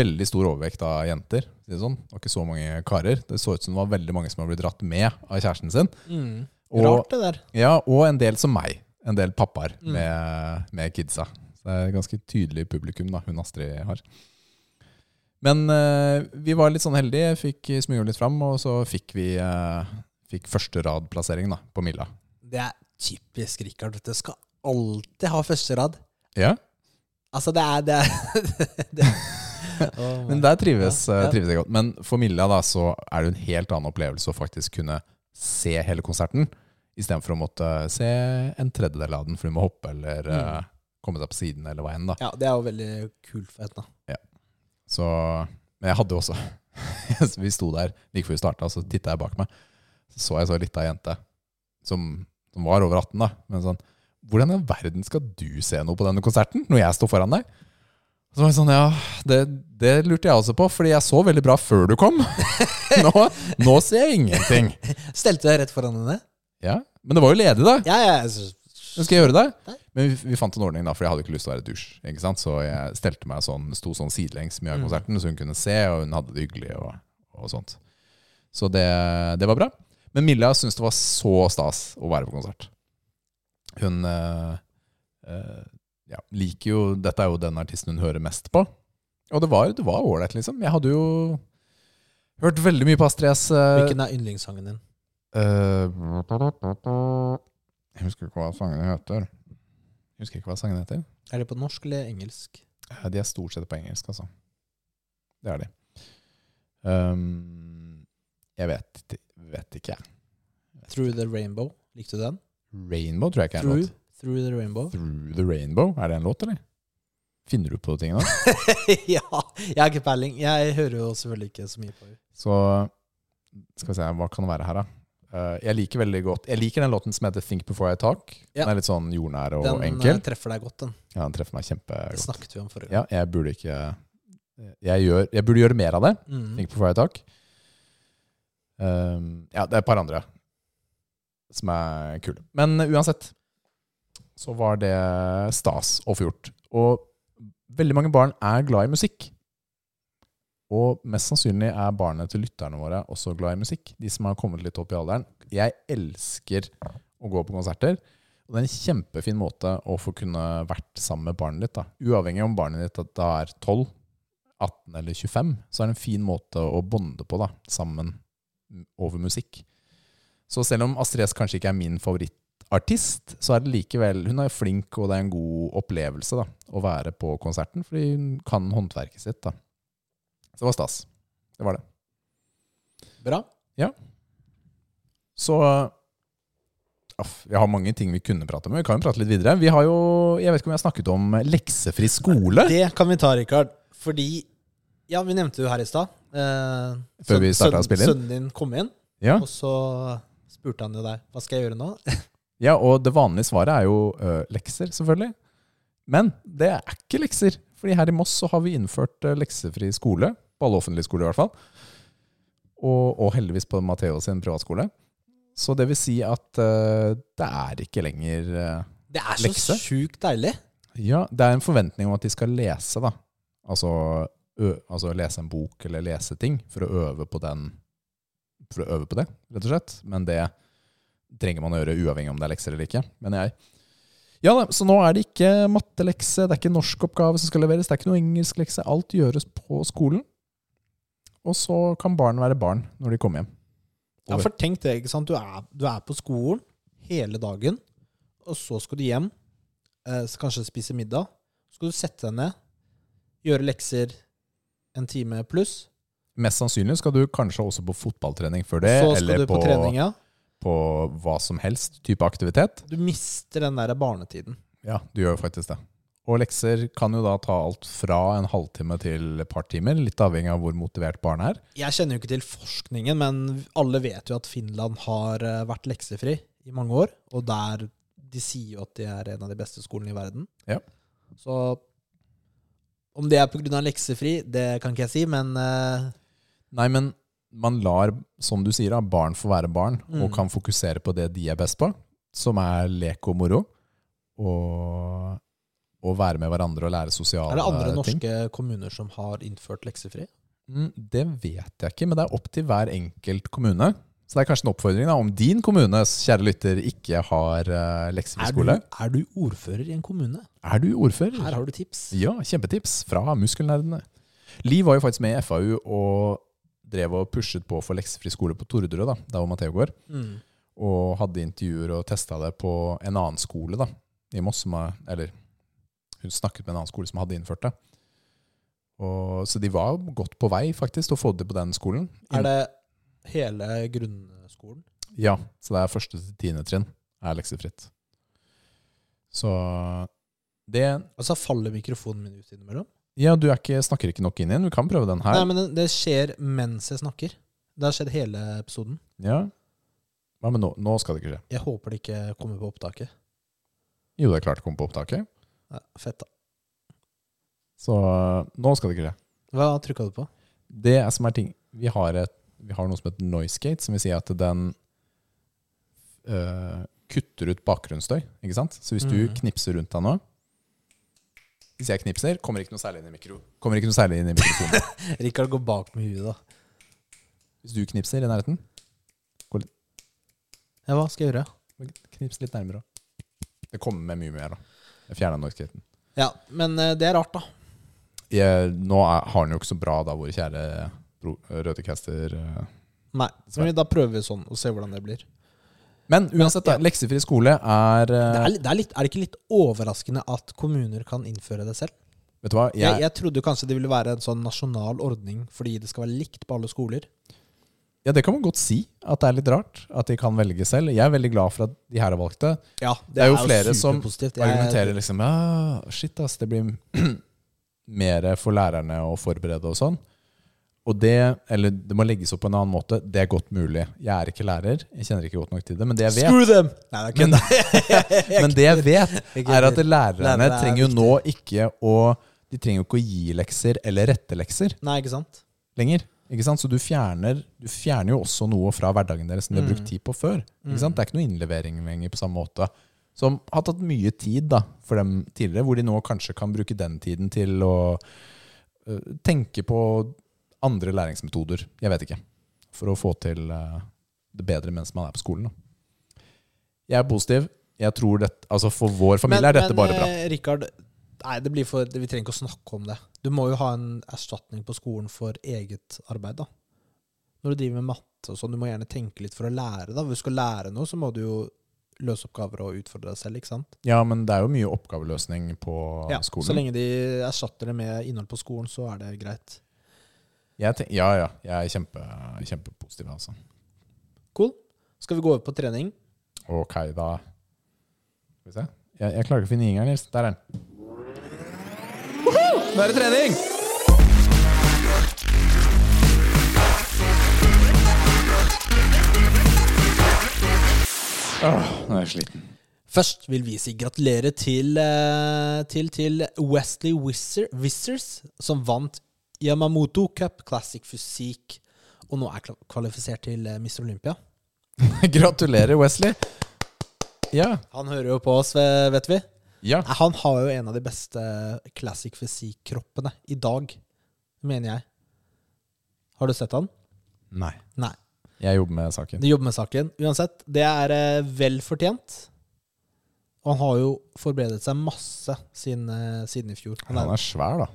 Veldig stor overvekt av jenter. for å Si det, sånn. det var ikke så mange karer. Det så ut som det var veldig mange som har blitt dratt med av kjæresten sin. Mm. Og- Rart, det der. Ja, og en del som meg. En del pappaer Mm. med, med kidsa. Så det er et ganske tydelig publikum da, hun Astrid har. Men eh, vi var litt sånn heldige, fikk smyga litt fram, og så fikk vi eh, fikk første radplassering da, på Milla. Det er typisk Rikard. vet Du skal alltid ha første rad. Ja, Altså, det er det, er, det. Oh my Men der trives, Ja, ja. eh, trives jeg godt. Men for Milla da, så er det jo en helt annen opplevelse å faktisk kunne se hele konserten, istedenfor å måtte se en tredjedel av den, for du må hoppe eller Mm. eh, komme deg på siden eller hva enn. da. Ja, det er jo veldig kult for henne. da. Så, men jeg hadde jo også så Vi sto der like før vi starta, så titta jeg bak meg. Så så jeg så ei lita jente som, som var over 18, da. Men sånn Hvordan i all verden skal du se noe på denne konserten når jeg står foran deg? Så var jeg sånn, ja, det, det lurte jeg også på, fordi jeg så veldig bra før du kom. nå, nå ser jeg ingenting. Stelte du deg rett foran henne? Ja, Men det var jo ledig, da. Ja, ja. altså, Men skal jeg gjøre det? Nei. Men vi, vi fant en ordning, da, for jeg hadde ikke lyst til å være dusj. Ikke sant? Så jeg stelte meg sånn, sto sånn sidelengs mye av Mm. konserten, så hun kunne se, og hun hadde det hyggelig og, og sånt. Så det, det var bra. Men Milla syntes det var så stas å være på konsert. Hun eh, eh, ja, liker jo Dette er jo den artisten hun hører mest på. Og det var det var ålreit, liksom. Jeg hadde jo hørt veldig mye på Astrid S. eh, Hvilken er yndlingssangen din? Eh, Jeg husker ikke hva sangene heter. Jeg husker ikke hva sangene heter. Er det på norsk eller engelsk? Eh, De er stort sett på engelsk, altså. Det er de. Ehm, jeg vet, ikke- vet ikke, jeg. 'Through the Rainbow'. Likte du den? Rainbow tror jeg ikke er en Through, låt. through the Rainbow. Through the Rainbow, er det en låt, eller? Finner du på ting nå? ja! Jeg har ikke peiling. Jeg hører jo selvfølgelig ikke så mye på henne. Så skal vi se, hva kan det være her, da? Eh, jeg liker veldig godt Jeg liker den låten som heter 'Think Before I Talk'. Ja. Den er litt sånn jordnær og Den eh, enkel. treffer deg godt, den. Ja, den treffer meg Det kjempegodt. snakket vi om forrige gang. Ja, jeg burde ikke eh, jeg, gjør, jeg burde gjøre mer av det. Mm. Think Before I Talk. Um, ja, det er et par andre som er kule. Men uansett så var det stas å få gjort. Og veldig mange barn er glad i musikk. Og mest sannsynlig er barna til lytterne våre også glad i musikk. De som har kommet litt opp i alderen. Jeg elsker å gå på konserter. Og det er en kjempefin måte å få kunne vært sammen med barnet ditt. Da. Uavhengig om barnet ditt at da er 12 18 eller 25, så er det en fin måte å bonde på da, sammen m- over musikk. Så selv om Astrid S kanskje ikke er min favorittartist, så er det likevel Hun er flink, og det er en god opplevelse da, å være på konserten, fordi hun kan håndverket sitt. da. Så det var stas. Det var det. Bra. Så aff, Vi har mange ting vi kunne prate om, men vi kan jo prate litt videre. Vi har jo, Jeg vet ikke om jeg har snakket om leksefri skole Det kan vi ta, Rikard. Fordi Ja, vi nevnte jo her i stad. Eh, Før vi søn- startet å sønnen- spille inn. Sønnen din kom inn, Ja. og så spurte han jo deg hva skal jeg gjøre nå. Ja, og det vanlige svaret er jo ø, lekser, selvfølgelig. Men det er ikke lekser. Fordi her i Moss så har vi innført ø, leksefri skole. På alle offentlige skoler, i hvert fall. Og, og heldigvis på Matheo sin privatskole. Så det vil si at ø, det er ikke lenger ø, Det er Lekse? så sjukt deilig. Ja, det er en forventning om at de skal lese, da. Altså, ø, altså lese en bok eller lese ting for å øve på den For å øve på det, rett og slett. Men det trenger man å gjøre uavhengig om det er lekser eller ikke, mener jeg. Ja da, så nå er det ikke mattelekse, det er ikke norskoppgave som skal leveres, det er ikke noe engelsklekse. Alt gjøres på skolen. Og så kan barn være barn når de kommer hjem. Ja, for tenk det, ikke sant. Du er, du er på skolen hele dagen, og så skal du hjem, eh, så kanskje spise middag. Så skal du sette deg ned, gjøre lekser en time pluss. Mest sannsynlig skal du kanskje også på fotballtrening før det, Så skal eller du på, trening, ja. på hva som helst type aktivitet. Du mister den der barnetiden. Ja, du gjør jo faktisk det. Og lekser kan jo da ta alt fra en halvtime til et par timer, litt avhengig av hvor motivert barnet er. Jeg kjenner jo ikke til forskningen, men alle vet jo at Finland har eh, vært leksefri i mange år. Og der de sier jo at de er en av de beste skolene i verden. Ja. Så om det er pga. leksefri, det kan ikke jeg si, men eh, Nei, men man lar, som du sier, da, barn få være barn, og Mm. kan fokusere på det de er best på, som er lek og moro, og, og være med hverandre og lære er sosiale det andre ting. norske kommuner som har innført leksefri? Mm, Det vet jeg ikke, men det er opp til hver enkelt kommune. Så det er kanskje en oppfordring da, om din kommune, kjære lytter, ikke har eh, lekser i Er du, skole. Mm. er du ordfører i en kommune? Er du ordfører? Her har du tips. Ja, kjempetips fra muskelnerdene. Liv var jo faktisk med i FAU og drev og pushet på for leksefri skole på Torderud, da, der hvor Matheo går. Mm. Og hadde intervjuer og testa det på en annen skole da, i Moss. Som er, eller hun snakket med en annen skole som hadde innført det. Og, så de var godt på vei faktisk til å få det på den skolen. Er det hele grunnskolen? Ja, så det er første til tiende trinn er leksefritt. Så det Altså faller mikrofonen min ut innimellom? Ja, du er ikke, snakker ikke nok inn igjen. Du kan prøve den her. Nei, men det, det skjer mens jeg snakker. Det har skjedd hele episoden. Ja. Hva men nå? Nå skal det ikke skje. Jeg håper det ikke kommer på opptaket. Jo, det er klart det kommer på opptaket. Ja, fett, da. Så øh, nå skal det ikke skje. Hva trykka du på? Det er som er ting Vi har, et, vi har noe som heter noise gate, som vil si at den øh, kutter ut bakgrunnsstøy. Ikke sant? Så hvis du Mhm. knipser rundt deg nå Hvis jeg knipser, kommer ikke noe særlig inn i mikro. Kommer ikke noe særlig inn i mikrofonen. Rikard går bak med huet, da. Hvis du knipser i nærheten, Ja, hva skal jeg gjøre? knips litt nærmere. også. Det kommer med mye mer, da. Jeg fjerna noise gaten. Ja, men eh, det er rart, da. Jeg, nå er, har den jo ikke så bra, da, vår kjære bro- røde caster. øh, Nei, men da prøver vi sånn, og ser hvordan det blir. Men uansett, da, leksefri skole er, eh, Det er, litt- det er, litt, er det ikke litt overraskende at kommuner kan innføre det selv? Vet du hva? Jeg, Jeg, jeg trodde jo kanskje det ville være en sånn nasjonal ordning fordi det skal være likt på alle skoler. ja, det kan man godt si. At det er litt rart. At de kan velge selv. Jeg er veldig glad for at de her har valgt det. Ja, Det er jo flere som superpositivt. Og argumenterer liksom ja, shit ass, det blir mer for lærerne å forberede og sånn. Og det, eller det må legges opp på en annen måte, det er godt mulig. Jeg er ikke lærer, jeg kjenner ikke godt nok til det, men det jeg vet, Screw them! Nei, det er Men- kødd. Jeg men det jeg vet kødder. er at lærerne Lærere er trenger jo nå ikke å De trenger jo ikke å gi lekser eller rette lekser Nei, ikke sant? lenger. Ikke sant? Så du fjerner, du fjerner jo også noe fra hverdagen deres som de har Mm. brukt tid på før. Ikke sant? Det er ikke noe innlevering lenger på samme måte. Som har tatt mye tid da, for dem tidligere, hvor de nå kanskje kan bruke den tiden til å øh, tenke på andre læringsmetoder. Jeg vet ikke. For å få til øh, det bedre mens man er på skolen. Da. Jeg er positiv. Jeg tror dette, altså For vår familie er dette bare bra. eh, Rikard, nei, det blir for, vi trenger ikke å snakke om det. Du må jo ha en erstatning på skolen for eget arbeid, da. Når du driver med matte og sånn, du må gjerne tenke litt for å lære, da. Hvis du skal lære noe, så må du jo løse oppgaver og utfordre deg selv, ikke sant? Ja, men det er jo mye oppgaveløsning på Ja, skolen. Så lenge de erstatter det med innhold på skolen, så er det greit. Jeg tenk, ja, ja. Jeg er kjempe, kjempepositiv, altså. Cool. Skal vi gå over på trening? Ok, da Skal vi se. Jeg, jeg klarer ikke å finne ingeren, Nils. Der er den. Nå er det trening! Åh, nå er jeg sliten. Først vil vi si gratulerer til, eh, til, til Wesley Wizard, Wizards, som vant Yamamoto Cup Classic Fysikk, og nå er kla- kvalifisert til eh, Mr. Olympia. Gratulerer, Wesley. Ja. Han hører jo på oss, ve- vet vi. Ja. Nei, Han har jo en av de beste Classic Fysikk-kroppene i dag, mener jeg. Har du sett han? Nei. Nei. Jeg jobber med saken. De jobber med saken. Uansett, det er eh, vel fortjent. Og han har jo forberedet seg masse siden, eh, siden i fjor. Han er svær, da.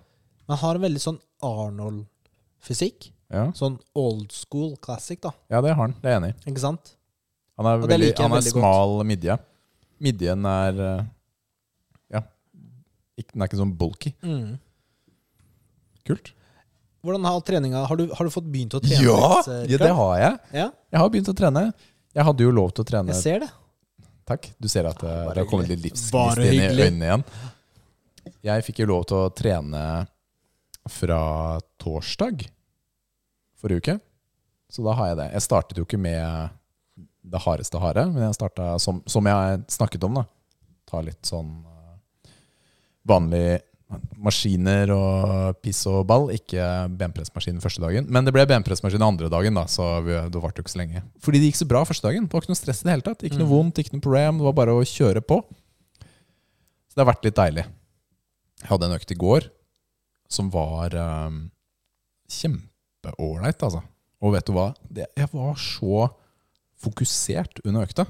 Men han har en veldig sånn Arnold-fysikk. Ja, Sånn old school classic, da. ja det har han. Det er jeg enig i. Ikke sant? Han er, Og det veldig, liker jeg han er veldig godt. smal midje. Midjen er eh, Ja. Ikke, den er ikke sånn bulky. Kult. Hvordan har treninga Har du, har du fått begynt å Ja! trene litt? eh, ja, det Rikard? har jeg. Ja, Jeg har begynt å trene. Jeg hadde jo lov til å trene jeg ser det. Takk. Du ser at eh, bare det har kommet hyggelig. litt livsgnist Bare inn i hyggelig. øynene igjen. Jeg fikk jo lov til å trene fra torsdag forrige uke, så da har jeg det. Jeg startet jo ikke med det hardeste harde, men jeg starta som, som jeg snakket om, da. Ta litt sånn eh, vanlig maskiner og piss og ball. Ikke benpressmaskin første dagen. Men det ble benpressmaskin andre dagen, da, så vi, det varte jo ikke så lenge. Fordi det gikk så bra første dagen. Det var ikke noe stress i det hele tatt. Ikke noe vondt, ikke noe problem. Det var bare å kjøre på. Så det har vært litt deilig. Jeg hadde en økt i går som var um, kjempeålreit, altså. Og vet du hva? Det, jeg var så fokusert under økta.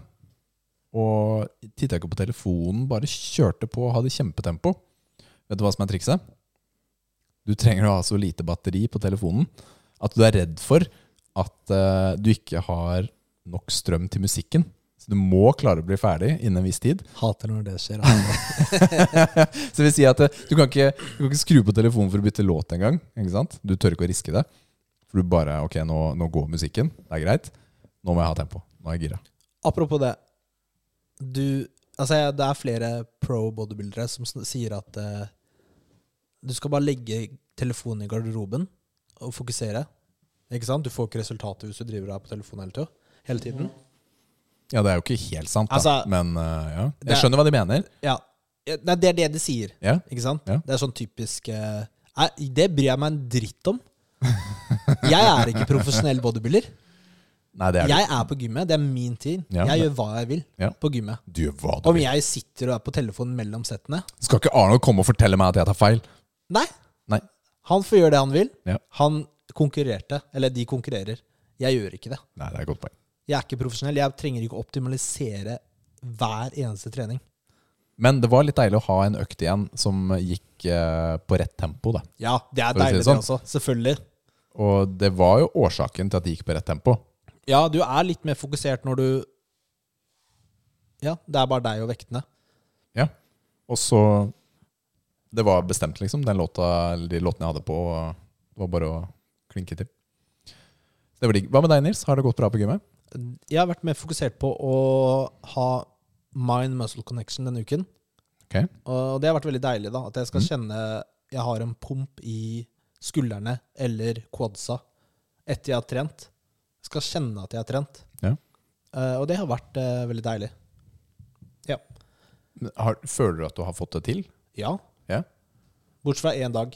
Og titta ikke på telefonen, bare kjørte på og hadde kjempetempo. Vet du hva som er trikset? Du trenger å ha så lite batteri på telefonen at du er redd for at eh, du ikke har nok strøm til musikken. Så du må klare å bli ferdig innen en viss tid. Hater når det skjer. Så det vil si at eh, du kan, ikke, du kan ikke skru på telefonen for å bytte låt engang. Ikke sant? Du tør ikke å riske det. For du bare Ok, nå, nå går musikken. Det er greit. Nå må jeg ha tempo. Nå er jeg gira. Apropos det. Du Altså, jeg- det er flere pro bodybuildere som sn- sier at eh, du skal bare legge telefonen i garderoben og fokusere. Ikke sant? Du får ikke resultater hvis du driver deg på telefonen hele tida. Hele tiden. Mhm. Ja, det er jo ikke helt sant, da. Altså, men eh, ja. det- Jeg skjønner hva de mener. Ja. Ja, Nei, det er det de sier. Ja. Ikke sant? Ja. Det er sånn typisk eh, Nei, det bryr jeg meg en dritt om. Jeg er ikke profesjonell bodybuilder. Nei, det er det. Jeg er på gymmet. Det er min tid. Ja, jeg det- gjør hva jeg vil Ja. på gymmet. Du gjør hva du Om vil. jeg sitter og er på telefonen mellom settene Skal ikke Arnold komme og fortelle meg at jeg tar feil? Nei, Nei. han får gjøre det han vil. Ja. Han konkurrerte. Eller de konkurrerer. Jeg gjør ikke det. Nei, det er et godt poeng. Jeg er ikke profesjonell. Jeg trenger ikke å optimalisere hver eneste trening. Men det var litt deilig å ha en økt igjen som gikk eh, på rett tempo, da. Ja, det er For å si deilig, det det sånn. også. Selvfølgelig. Og det var jo årsaken til at det gikk på rett tempo. Ja, du er litt mer fokusert når du Ja, det er bare deg og vektene. Ja. Og så Det var bestemt, liksom. Den låta, eller de låtene jeg hadde på, det var bare å klinke til. Så det var digg. Hva med deg, Nils? Har det gått bra på gymmet? Jeg har vært mer fokusert på å ha mind muscle connection denne uken. Ok. Og det har vært veldig deilig, da. At jeg skal kjenne jeg har en pump i skuldrene eller quadsa etter jeg har trent. Jeg skal kjenne at jeg har trent. Ja. Eh, og det har vært eh, veldig deilig. Men Har, føler du at du har fått det til? Ja. Ja. Bortsett fra én dag,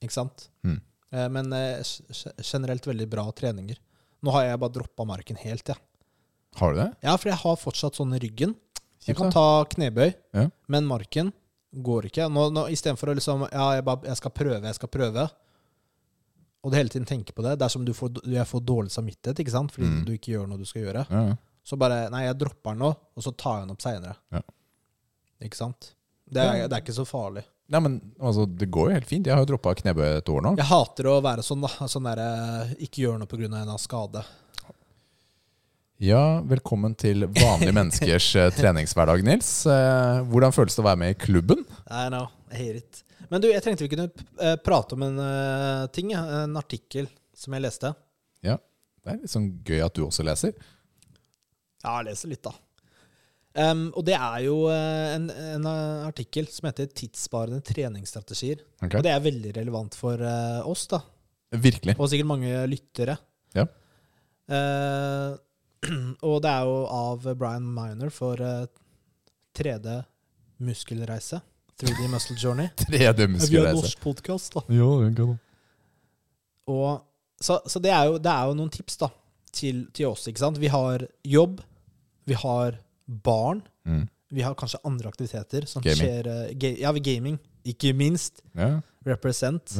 ikke sant? Mm. Eh, men eh, s- s- generelt veldig bra treninger. Nå har jeg bare droppa marken helt, jeg. Har du det? Ja. for jeg har fortsatt sånn i ryggen. Jeg Kjipt, kan da. ta knebøy, Ja. men marken går ikke. Nå, nå, Istedenfor å liksom Ja, jeg, bare, jeg skal prøve, jeg skal prøve. Og du hele tiden tenker på det. Det er som du får, jeg får dårlig samvittighet ikke sant? fordi Mm. du ikke gjør noe du skal gjøre. Ja, ja. Så bare Nei, jeg dropper den nå, og så tar jeg den opp seinere. Ja. Ikke sant? Det er, det er ikke så farlig. Nei, men altså, det går jo helt fint. Jeg har jo droppa knebøy et år nå. Jeg hater å være sånn, da. Sånn derre Ikke gjør noe pga. en eller annen skade. Ja, velkommen til vanlige menneskers eh, treningshverdag, Nils. Eh, Hvordan føles det å være med i klubben? I know. I hate it. Men du, jeg tenkte vi kunne eh, prate om en eh, ting. ja. En artikkel som jeg leste. Det er litt sånn gøy at du også leser. Ja, jeg leser litt, da. Em, og det er jo eh, en, en eh, artikkel som heter 'Tidssparende treningsstrategier'. Ok. Og det er veldig relevant for eh, oss, da. Virkelig. Og sikkert mange lyttere. Ja. Eh, og det er jo av Brian Miner for eh, 3D muskelreise. 3D Muscle Journey. 3D-muskelreise. norsk podkast, da. Ja, det kan du. Og, så så det, er jo, det er jo noen tips da, til, til oss. ikke sant? Vi har jobb, vi har barn, Mm. vi har kanskje andre aktiviteter som Gaming. skjer eh, ga Ja, vi gaming. Ikke minst Ja. represent.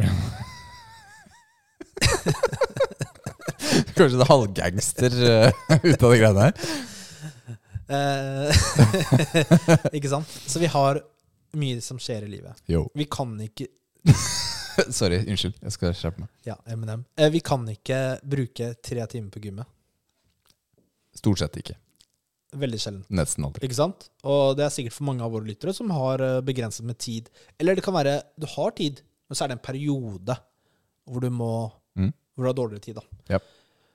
Kanskje det er halvgangster eh, ut av de greiene her. Eh, ikke sant? Så vi har mye som skjer i livet. Yo. Vi kan ikke Sorry, unnskyld. Jeg skal skjerpe meg. Ja, Eminem. Eh, vi kan ikke bruke tre timer på gymmet. Stort sett ikke. Veldig sjelden. Nesten aldri. Ikke sant? Og det er sikkert for mange av våre lyttere som har eh, begrenset med tid. Eller det kan være du har tid, men så er det en periode hvor du må Mm. Hvor du har dårligere tid, da. Ja.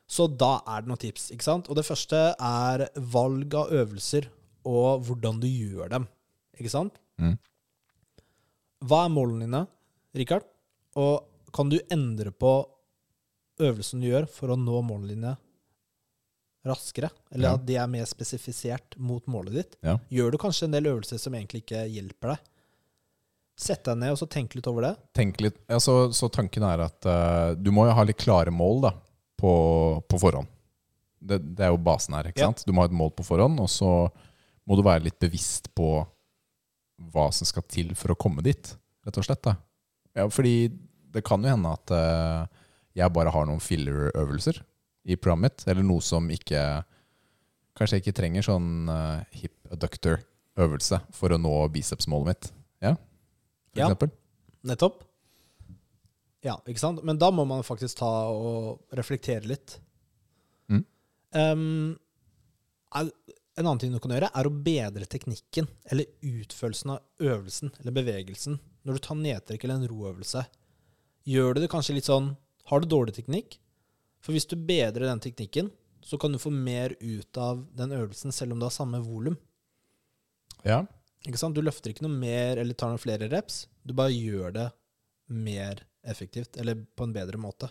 Så da er det noen tips. ikke sant? Og det første er valg av øvelser og hvordan du gjør dem. Ikke sant? Mm. Hva er målene dine, Rikard? Og kan du endre på øvelsen du gjør for å nå målene dine raskere? Eller Ja. at de er mer spesifisert mot målet ditt? Ja. Gjør du kanskje en del øvelser som egentlig ikke hjelper deg? Sett deg ned og så tenk litt over det. Tenk litt. Ja, så, så tanken er at eh, du må jo ha litt klare mål da, på, på forhånd. Det, det er jo basen her. ikke Ja. sant? Du må ha et mål på forhånd, og så må du være litt bevisst på hva som skal til for å komme dit, rett og slett. da. Ja, fordi det kan jo hende at eh, jeg bare har noen filler-øvelser i programmet mitt, eller noe som ikke Kanskje jeg ikke trenger sånn eh, hip adductor-øvelse for å nå bicepsmålet mitt. Ja, for Ja. eksempel. Nettopp. Ja, ikke sant? Men da må man faktisk ta og reflektere litt. Mm. Ehm, er, en annen ting du kan gjøre, er å bedre teknikken eller utførelsen av øvelsen eller bevegelsen. Når du tar nedtrekk eller en roøvelse, gjør du det kanskje litt sånn Har du dårlig teknikk? For hvis du bedrer den teknikken, så kan du få mer ut av den øvelsen selv om du har samme volum. Ja. Ikke sant? Du løfter ikke noe mer eller tar noen flere reps. Du bare gjør det mer effektivt, eller på en bedre måte.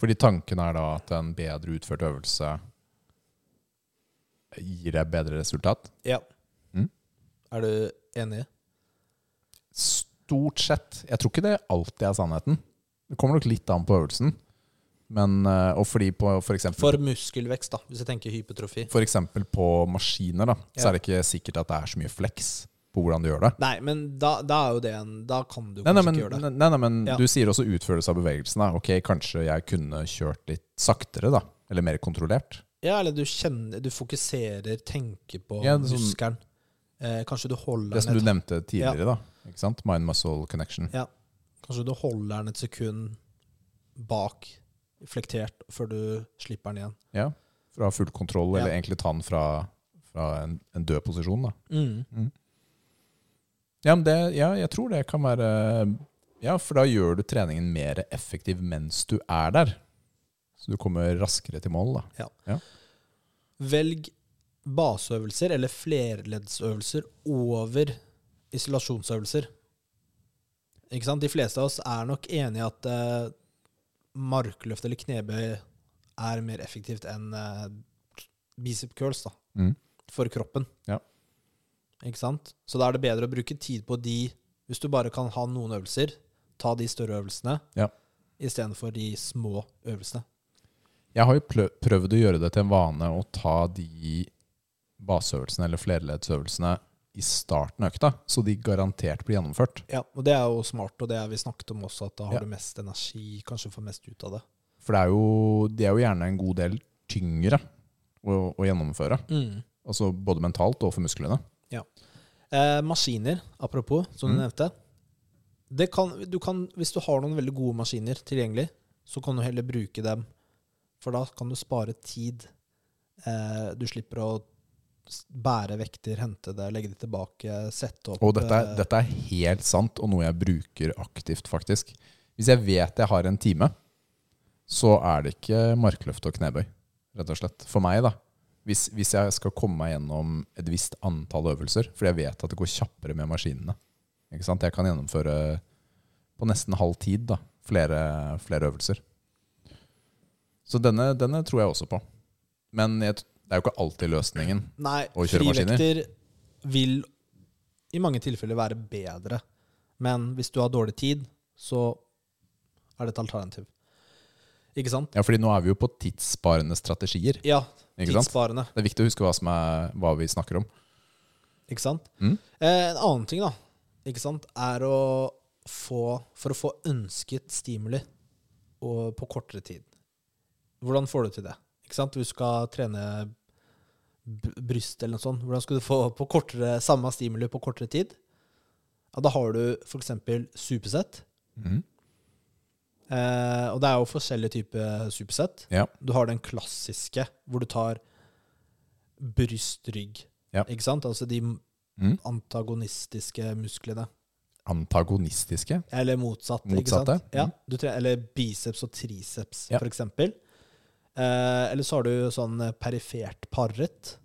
Fordi tanken er da at en bedre utført øvelse gir deg bedre resultat? Ja. Mm. Er du enig? Stort sett. Jeg tror ikke det alltid er sannheten. Det kommer nok litt an på øvelsen. Men, eh, og fordi på for eksempel, For muskelvekst, da, hvis jeg tenker hypertrofi. for eksempel på maskiner, da, Ja. så er det ikke sikkert at det er så mye flex på hvordan du gjør det. Nei, men da, da er jo det en Da kan du Nei, nei, kanskje men, ikke gjøre det. nei, nei, men Ja. du sier også utførelse av bevegelsen. Da. Ok, kanskje jeg kunne kjørt litt saktere, da. Eller mer kontrollert. Ja, eller du kjenner Du fokuserer, tenker på Ja, det er sånn- muskelen. Eh, kanskje du holder Det som du den et, nevnte tidligere, da. Ikke sant? Mind-muscle connection. Kanskje du holder den et sekund bak, flektert, før du slipper den igjen. Ja, for å ha full kontroll, eller Ja. egentlig ta den fra, fra en, en død posisjon. Da. Mm. Ja, men det, ja, jeg tror det kan være Ja, for da gjør du treningen mer effektiv mens du er der. Så du kommer raskere til mål, da. Velg baseøvelser eller flerleddsøvelser over isolasjonsøvelser. Ikke sant? De fleste av oss er nok enige i at eh, markløft eller knebøy er mer effektivt enn eh, bicep curls da, Mm. for kroppen. Ja. Ikke sant? Så da er det bedre å bruke tid på de, hvis du bare kan ha noen øvelser, ta de større øvelsene, Ja. istedenfor de små øvelsene. Jeg har jo plø- prøvd å gjøre det til en vane å ta de baseøvelsene eller flerleddsøvelsene i starten av økta, så de garantert blir gjennomført. Ja, og det er jo smart, og det har vi snakket om også, at da har Ja. du mest energi, kanskje får mest ut av det. For det er jo, de er jo gjerne en god del tyngre å, å gjennomføre. Altså både mentalt og for musklene. Eh, maskiner, apropos, som du Mm. nevnte. Det kan, du kan, hvis du har noen veldig gode maskiner tilgjengelig, så kan du heller bruke dem. For da kan du spare tid. Eh, du slipper å s- bære vekter, hente det, legge det tilbake, sette opp Og dette, er- eh, dette er helt sant, og noe jeg bruker aktivt, faktisk. Hvis jeg vet jeg har en time, så er det ikke markløft og knebøy, rett og slett. For meg, da. Hvis, hvis jeg skal komme meg gjennom et visst antall øvelser, fordi jeg vet at det går kjappere med maskinene. Ikke sant? Jeg kan gjennomføre på nesten halv tid da, flere, flere øvelser. Så denne, denne tror jeg også på. Men jeg, t- det er jo ikke alltid løsningen. Nei, Og kjøremaskiner. frivekter vil i mange tilfeller være bedre. Men hvis du har dårlig tid, så er det et alternativ. Ikke sant? Ja, fordi nå er vi jo på tidssparende strategier. Ja, Ikke sant? tidssparende. Det er viktig å huske hva, som er, hva vi snakker om. Ikke sant? Mm. Eh, en annen ting, da, ikke sant, er å få For å få ønsket stimuli og på kortere tid. Hvordan får du til det? Ikke sant? Du skal trene b- bryst eller noe sånt. Hvordan skal du få på kortere, samme stimuli på kortere tid? Ja, da har du f.eks. supersett. Mm. Eh, og det er jo forskjellige typer supersett. Ja. Du har den klassiske, hvor du tar bryst-rygg. Ja. Ikke sant? Altså de Mm. antagonistiske musklene. Antagonistiske. Eller motsatt. Ikke Motsatte. sant? Ja, Mm. du tre- eller biceps og triceps, Ja. for eksempel. Eh, eller så har du sånn eh, perifert parret.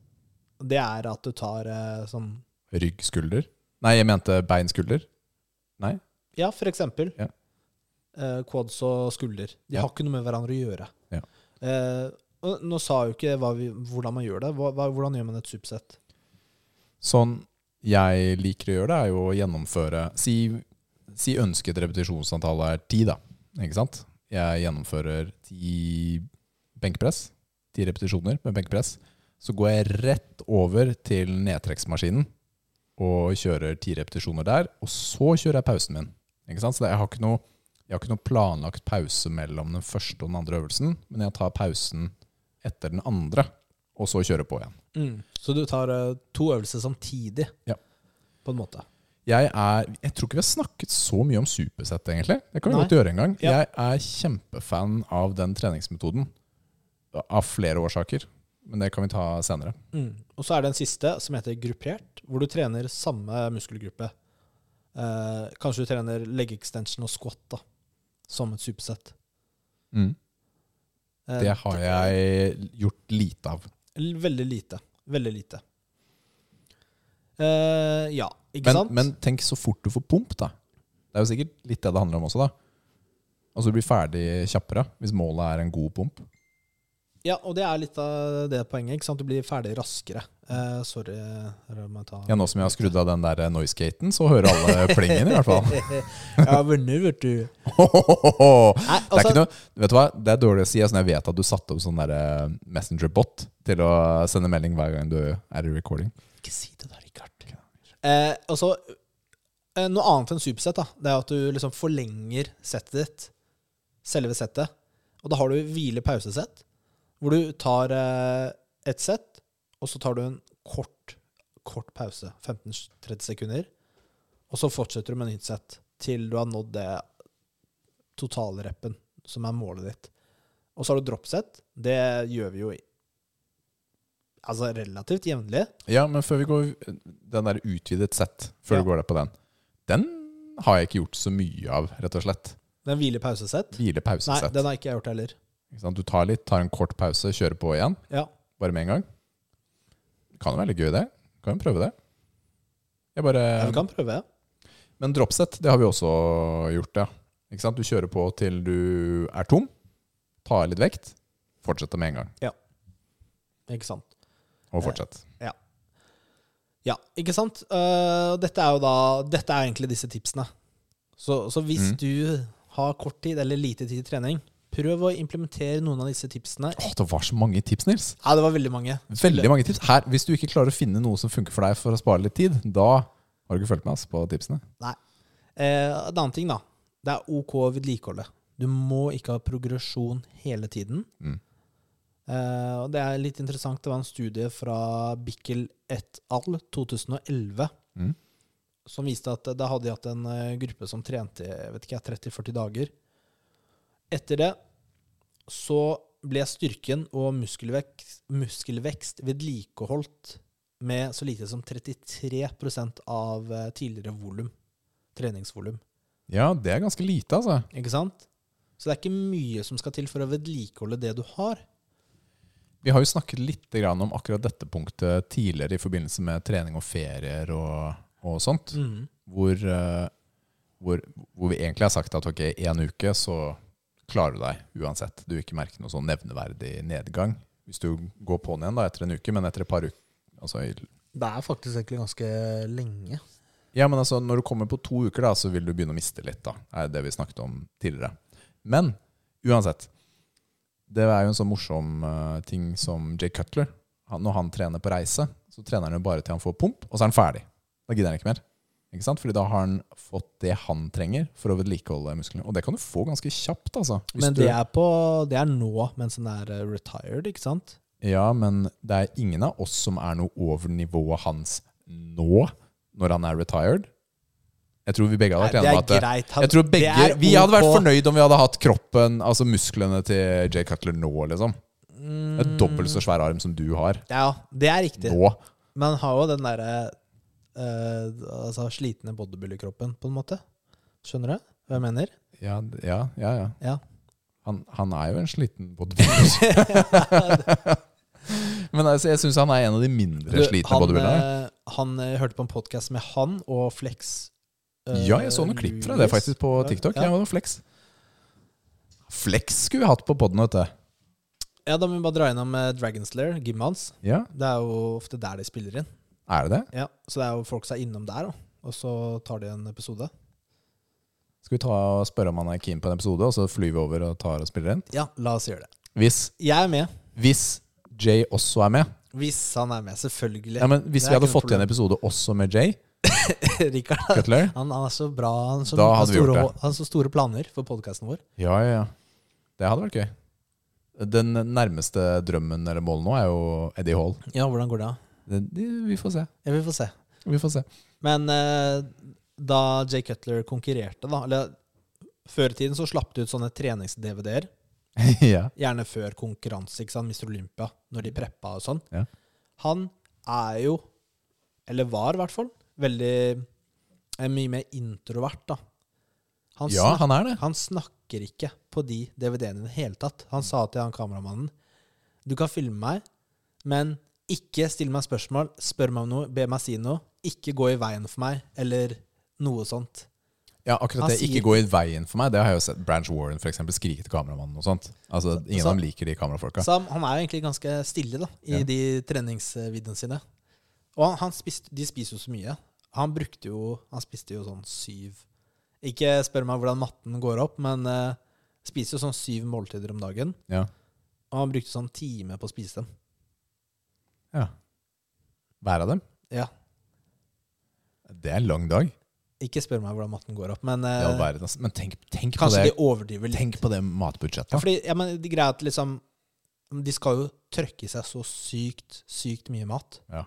Det er at du tar eh, sånn Rygg, skulder. Nei, jeg mente bein, skulder. Ja, for eksempel. Ja. Eh, quads og skulder. De Ja. har ikke noe med hverandre å gjøre. Ja. Eh, og nå sa jeg jo ikke hva vi, hvordan man gjør det. Hva, hva, hvordan gjør man et supersett? Sånn jeg liker å gjøre det, er jo å gjennomføre Si, si ønsket repetisjonsantall er ti, da. Ikke sant? Jeg gjennomfører ti benkpress. Ti repetisjoner med benkpress. Så går jeg rett over til nedtrekksmaskinen og kjører ti repetisjoner der. Og så kjører jeg pausen min. Ikke sant? Så det- jeg har ikke noe jeg har ikke noe planlagt pause mellom den første og den andre øvelsen, men jeg tar pausen etter den andre, og så kjører på igjen. Så du tar eh, to øvelser samtidig, Mm. Ja. på en måte. jeg er Jeg tror ikke vi har snakket så mye om supersett, egentlig. Det kan vi Nei. godt gjøre en gang. Ja. Jeg er kjempefan av den treningsmetoden. Av flere årsaker. Men det kan vi ta senere. Og så er det en siste som heter gruppert, hvor du trener samme muskelgruppe. Eh, kanskje du trener leg extension og squat da, som et supersett. Eh, Det har jeg gjort lite av. l- Veldig lite. Veldig lite. Eh, ja, ikke Men, sant? men tenk så fort du får pump, da. Det er jo sikkert litt det det handler om også, da. Altså du blir ferdig kjappere hvis målet er en god pump. Ja, og det er litt av det poenget. ikke sant? Du blir ferdig raskere. Eh, sorry, her må jeg ta Ja, Nå som jeg har skrudd av den der noisegaten, så hører alle plingen, i hvert fall. Jeg har vunnet, vet du. Nei, Det er altså, ikke noe, vet du hva? Det er dårlig å si. Altså, jeg vet at du satte opp sånn der eh, Messenger-bot til å sende melding hver gang du er i recording. Ikke si det der, Richard. Eh, altså, eh, noe annet enn supersett da, det er at du liksom forlenger settet ditt, selve settet, og da har du hvile-pausesett, hvor du tar eh, et sett, og så tar du en kort, kort pause, 15-30 sekunder, og så fortsetter du med nytt sett, til du har nådd det totalreppen, som er målet ditt. Og så har du droppsett, det gjør vi jo i, altså relativt jevnlig, Ja, men før vi går Den der utvidet sett, før Ja. du går der på den, den har jeg ikke gjort så mye av, rett og slett. Den hviler pausesett? Nei, Hvile-pause-sett. den har ikke jeg gjort heller. Ikke sant? Du tar litt, tar en kort pause, kjører på igjen, Ja. bare med en gang. Kan jo være litt gøy, det. Kan jo prøve det. Jeg bare Ja, vi kan prøve. Men dropset, det har vi også gjort, ja. Ikke sant? Du kjører på til du er tom, ta av litt vekt, fortsette med en gang. Ikke sant? Og fortsett. Ja, ikke sant? Eh, og dette er jo da Dette er egentlig disse tipsene. Så, så hvis Mm. du har kort tid eller lite tid til trening, prøv å implementere noen av disse tipsene. Åh, det var så mange tips, Nils! Ja, det var veldig mange. Veldig mange tips. Her, hvis du ikke klarer å finne noe som funker for deg for å spare litt tid, da har du ikke fulgt med oss på tipsene. Eh, en annen ting, da. Det er OK å vedlikeholde. Du må ikke ha progresjon hele tiden. Mm. Eh, og det er litt interessant. Det var en studie fra Bikkel et al. 2011 Mm. som viste at da hadde de hatt en eh, gruppe som trente jeg vet ikke, 30-40 dager. Etter det så ble styrken og muskelvekst, muskelvekst vedlikeholdt med så lite som 33 av eh, tidligere volum treningsvolum. Ja, det er ganske lite, altså. Ikke sant? Så det er ikke mye som skal til for å vedlikeholde det du har. Vi har jo snakket litt grann om akkurat dette punktet tidligere i forbindelse med trening og ferier og, og sånt, hvor, eh, hvor, hvor vi egentlig har sagt at ok, en uke så klarer du deg uansett. Du vil ikke merke noe sånn nevneverdig nedgang. Hvis du går på'n igjen da etter en uke, men etter et par uker altså, i- Det er faktisk egentlig ganske lenge. Ja, men altså, når du kommer på to uker, da, så vil du begynne å miste litt. da, er det vi snakket om tidligere. Men uansett. Det er jo en sånn morsom eh, ting som Jay Cutler. Han, når han trener på reise, så trener han jo bare til han får pump, og så er han ferdig. Da gidder han ikke mer. Ikke sant? Fordi da har han fått det han trenger for å vedlikeholde musklene. Og det kan du få ganske kjapt, altså. Hvis Men du, det er, på, det er nå, mens den er eh, retired, ikke sant? Ja, men det er ingen av oss som er noe over nivået hans nå, når han er retired. Jeg tror vi begge hadde vært enige om at eh, greit. Han- jeg tror begge, det er Vi hadde vært ok. fornøyd om vi hadde hatt kroppen, altså musklene til Jay Cutler nå, liksom. Det er dobbelt så svær arm som du har Ja, det er riktig. nå. Men han har jo den derre eh, altså slitne bodybuilder-kroppen, på en måte. Skjønner du hva jeg mener? Ja, d- ja, ja. ja. Ja. Han, han er jo en sliten bodybuilder. Men altså, jeg syns han er en av de mindre Du, slitne han, bodybuilderne. eh, han eh, hørte på en podkast med han og Flex. eh, Ja, jeg så noen klipp fra det Lewis. faktisk på Ja, TikTok. Ja. Jeg var flex. Flex skulle vi hatt på poden, vet du. ja, Da må vi bare dra innom eh, Dragon Slayer, gymmet hans. Ja, Det er jo ofte der de spiller inn. er det det? Ja, Så det er jo folk som er innom der, da. og så tar de en episode. Skal vi ta og spørre om han er keen på en episode, og så flyr vi over og tar og spiller inn? Ja, la oss gjøre det. Hvis, Jeg er med. hvis Jay også er med, Hvis han er med, selvfølgelig. Ja, men Hvis Det er vi hadde ikke noe fått til en episode også med Jay Rikard, Cutler han, han er så bra. Han har så, Da han har hadde vi gjort store, det. hå- han har så store planer for podkasten vår. Ja, ja, ja. Det hadde vært gøy. Den nærmeste drømmen eller målet nå er jo Eddie Hall. Ja, hvordan går det? da? Det, det, vi får se. Ja, vi får se. Vi får se. Men eh, da Jay Cutler konkurrerte, da Eller før i tiden så slapp du ut sånne trenings-DVD-er. ja. Gjerne før konkurranse, ikke sant? Mr. Olympia, når de preppa og sånn. Mm. Ja. Han er jo, eller var i hvert fall, veldig er mye mer introvert, da. Han, ja, snak, han er det. han snakker ikke på de DVD-ene i det hele tatt. Han sa til han kameramannen Du kan filme meg, men ikke still meg spørsmål. Spør meg om noe, be meg si noe. Ikke gå i veien for meg, eller noe sånt. Ja, akkurat Han det. Ikke sier- gå i veien for meg. Det har jeg jo sett. Branch Warren for eksempel, skrike til kameramannen og sånt. Altså, Ingen så- av dem liker de kamerafolka. Så han, han er jo egentlig ganske stille da, i Ja. de treningsvideoene sine. Og han, han spiste, de spiser jo så mye. Han brukte jo Han spiste jo sånn syv Ikke spør meg hvordan matten går opp, men eh, spiser jo sånn syv måltider om dagen. Ja. Og han brukte sånn time på å spise dem. ja. Hver av dem. Ja. Det er en lang dag. Ikke spør meg hvordan matten går opp, men Det eh, er all verden, altså. Men tenk, tenk, på kanskje det, de overdriver litt. tenk på det matbudsjettet. Ja, fordi, ja, men de greier at liksom De skal jo trøkke i seg så sykt, sykt mye mat. Ja.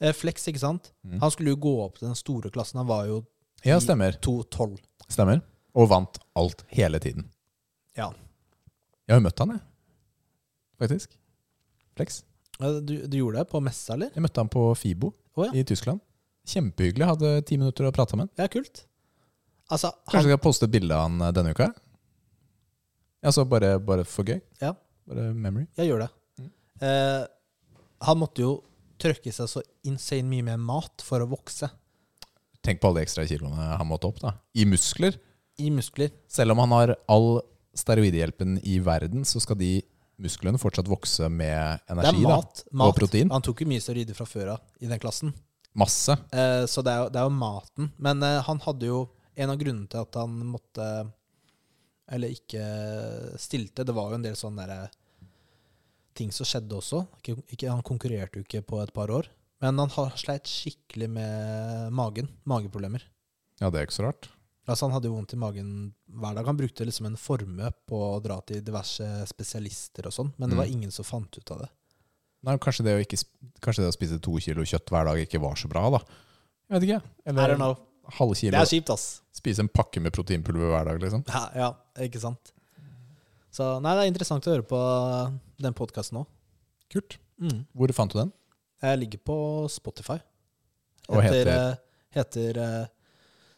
Eh, Flex, ikke sant? Mm. Han skulle jo gå opp til den store klassen. Han var jo ja, stemmer. 2,12. Stemmer. Og vant alt hele tiden. Ja. Jeg har jo møtt han, jeg. Faktisk. Flex. Eh, Du, du gjorde det på messa, eller? Jeg møtte han på Fibo Å, ja. i Tyskland. Kjempehyggelig. Hadde ti minutter å prate med han. Ja, kult. Altså, Kanskje han, jeg skal poste et bilde av han eh, denne uka? Altså bare, bare for gøy. Ja. Bare memory. jeg gjør det. Mm. Eh, han måtte jo trøkke i seg så insane mye mer mat for å vokse. Tenk på alle de ekstra kiloene han måtte opp, da. I muskler. I muskler. Selv om han har all steroidehjelpen i verden, så skal de musklene fortsatt vokse med Det er energi da, mat. mat. og protein. Han tok jo mye steroider fra før av i den klassen. Masse. Eh, Så det er, jo, det er jo maten. Men eh, han hadde jo En av grunnene til at han måtte Eller ikke stilte, det var jo en del sånne derre ting som skjedde også. Ikke, ikke, han konkurrerte jo ikke på et par år. Men han har sleit skikkelig med magen. Mageproblemer. Ja, det er ikke så rart. Altså Han hadde jo vondt i magen hver dag. Han brukte liksom en formue på å dra til diverse spesialister og sånn, men det var Mm. ingen som fant ut av det. Nei, kanskje, det å ikke, sp- kanskje det å spise to kilo kjøtt hver dag ikke var så bra, da. Jeg vet ikke. I don't Eller know. halve Det kilo. er kjipt, ass. Spise en pakke med proteinpulver hver dag, liksom. Ja, ja, ikke sant. Så nei, det er interessant å høre på den podkasten òg. Kult. Hvor fant du den? Jeg ligger på Spotify. Og heter? eh, heter eh,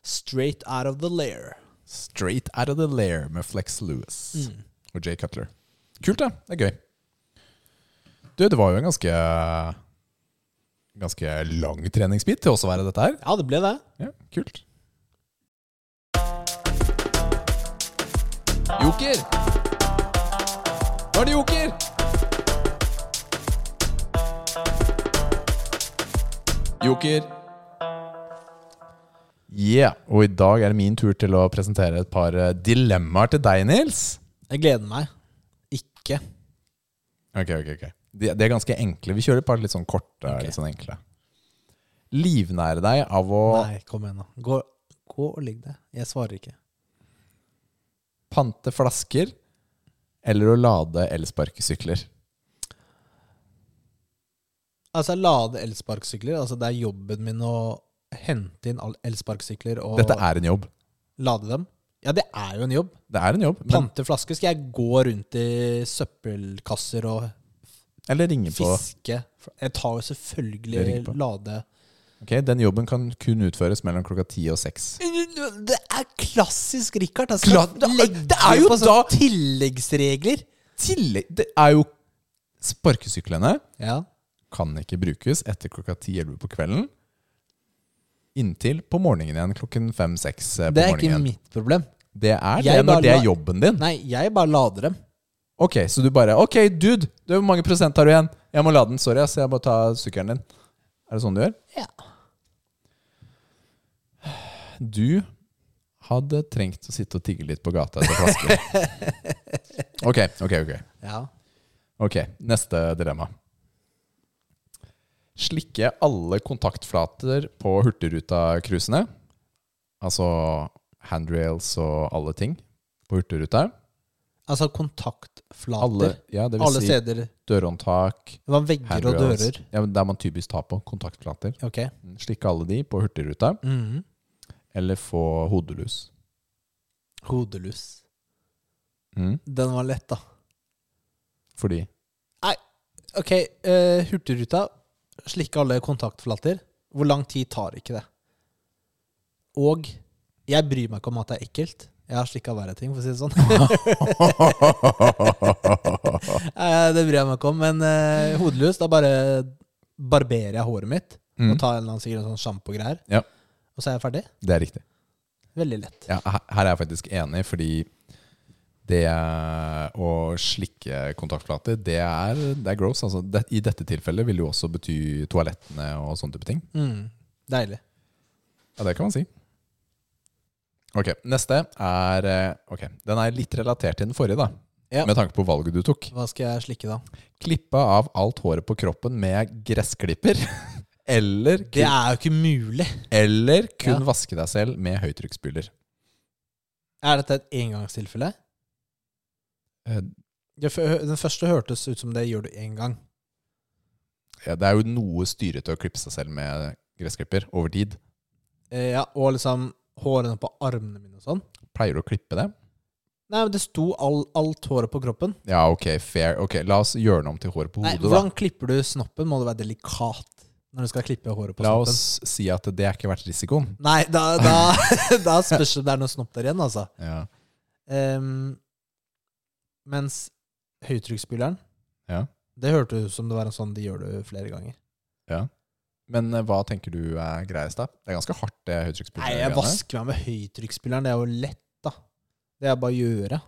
Straight Out of the Lair. Straight Out of the Lair med Flex Lewis Mm. og Jay Cutler. Kult, da. Det er gøy. Du, det var jo en ganske Ganske lang treningsbit til oss å være dette her. Ja, det ble det. Ja, kult. Joker! Nå er det joker! Joker. Yeah, og i dag er det min tur til å presentere et par eh, dilemmaer til deg, Nils. Jeg gleder meg. Ikke. Ok, ok, ok. De, de er ganske enkle. Vi kjører et par litt sånn korte, Ok. litt sånn enkle. Livnære deg av å Nei, kom igjen, nå. Gå, gå og ligg deg. Jeg svarer ikke. pante flasker eller å lade elsparkesykler. Altså, jeg lade elsparkesykler. Altså, det er jobben min å hente inn all- elsparkesykler og Dette er en jobb. lade dem. Ja, det er jo en jobb. Det er en jobb. Men, Pante flasker. Skal jeg gå rundt i søppelkasser og eller ringe på. fiske? Jeg tar jo Det ringer selvfølgelig på. lade Ok, Den jobben kan kun utføres mellom klokka ti og seks. Det er klassisk Richard. Altså, Kla- det, er, det er jo på sånn sånne tilleggsregler. Tillegg Det er jo Sparkesyklene Ja. kan ikke brukes etter klokka ti-elleve på kvelden. Inntil på morgenen igjen klokken fem-seks på Det er ikke morgenen. mitt problem. Det er det Jeg bare når det la- er jobben din. Nei, jeg bare lader dem. Ok, så du bare Ok, dude, du, hvor mange prosent har du igjen? Jeg må lade den. Sorry, ass. Jeg må ta sykkelen din. Er det sånn du gjør? Ja. Du hadde trengt å sitte og tigge litt på gata etter flasker. ok, ok, ok. ja. Ok, Neste dilemma. Slikke alle kontaktflater på Hurtigruta-cruisene, altså handrails og alle ting på Hurtigruta. Altså kontaktflater. Alle, Alle, ja, det vil si steder. dørhåndtak, Det var vegger og handrails dører. ja, men Der man typisk tar på kontaktflater. Ok. Slikke alle de på Hurtigruta, Mhm. eller få hodelus. Hodelus. Mm, Den var lett, da. fordi Ok, eh, Hurtigruta. Slikke alle kontaktflater. Hvor lang tid tar ikke det? Og jeg bryr meg ikke om at det er ekkelt. Jeg har slikka verre ting, for å si det sånn. Eh, det bryr jeg meg ikke om, men eh, hodeløs, da bare barberer jeg håret mitt. Mm. Og tar en eller annen sikkert en sånn sjampo-greier. Ja. Og så er jeg ferdig. Det er riktig. Veldig lett. Ja, her her er jeg faktisk enig, fordi det å slikke kontaktflater, det er, det er gross. Altså, det, I dette tilfellet vil det jo også bety toalettene og sånne type ting. Mm. Deilig. Ja, det kan man si. Ok, neste er eh, Ok, den er litt relatert til den forrige, da. Ja. Med tanke på valget du tok. Hva skal jeg slikke, da? Klippe av alt håret på kroppen med gressklipper. Eller Det kun, er jo ikke mulig! eller kun Ja. vaske deg selv med høytrykksspyler. Er dette et engangstilfelle? Eh, Ja, for hø- Den første hørtes ut som det gjør du én gang. Ja, det er jo noe styrete å klippe seg selv med gressklipper over tid. Eh, ja, og liksom hårene på armene mine og sånn. Pleier du å klippe det? Nei, men det sto all, alt håret på kroppen. Ja, ok, fair. Ok, La oss gjøre den om til hår på Nei, hodet, hvordan klipper du snoppen? Må det være delikat når du skal klippe håret på da. La snoppen? oss si at det er ikke verdt risikoen. Nei, da, da, da spørs det om det er noe snopp der igjen, altså. Ja. Ehm, mens høytrykksspyleren Ja. Det hørtes ut som det var en sånn de gjør det flere ganger. Men eh, hva tenker du er greiest, da? Det er ganske hardt, det Nei, jeg høytrykksspylergreiene. vasker meg med høytrykksspyleren. Det er jo lett, da. Det er bare å gjøre.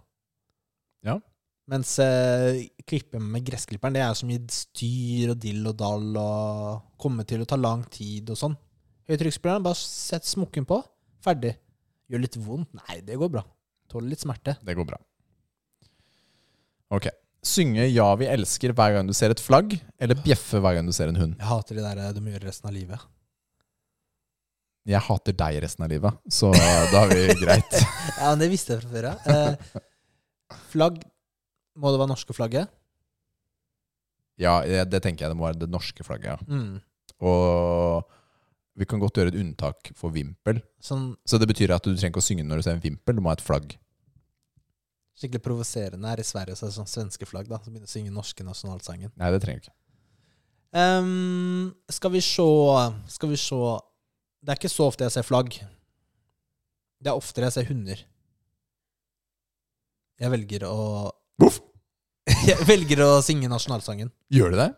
Mens eh, klippe med gressklipperen, det er jo så mye styr og dill og dall og kommer til å ta lang tid og sånn. Høytrykksspilleren, bare sett smokken på. Ferdig. Gjør litt vondt? Nei, det går bra. Tåler litt smerte. Det går bra. Ok. Synge 'Ja, vi elsker' hver gang du ser et flagg, eller bjeffe hver gang du ser en hund. Jeg hater det der eh, du må gjøre resten av livet. Jeg hater deg resten av livet, så da har vi greit. Ja, men det visste jeg fra før, ja. Eh, flagg Må det være norske flagget? Ja, eh, det det tenker jeg det må være det norske flagget. Mm. ja. Og vi kan godt gjøre et unntak for vimpel. Sånn Så det betyr at du trenger ikke å synge når du ser en vimpel, du må ha et flagg. skikkelig provoserende her i Sverige, så er det sånn svenske flagg, da, som begynner å synge norske nasjonalsangen. Nei, det trenger du ikke. Ehm, skal vi se Skal vi se Det er ikke så ofte jeg ser flagg. Det er oftere jeg ser hunder. Jeg velger å Voff! Jeg velger å synge nasjonalsangen. Gjør du det?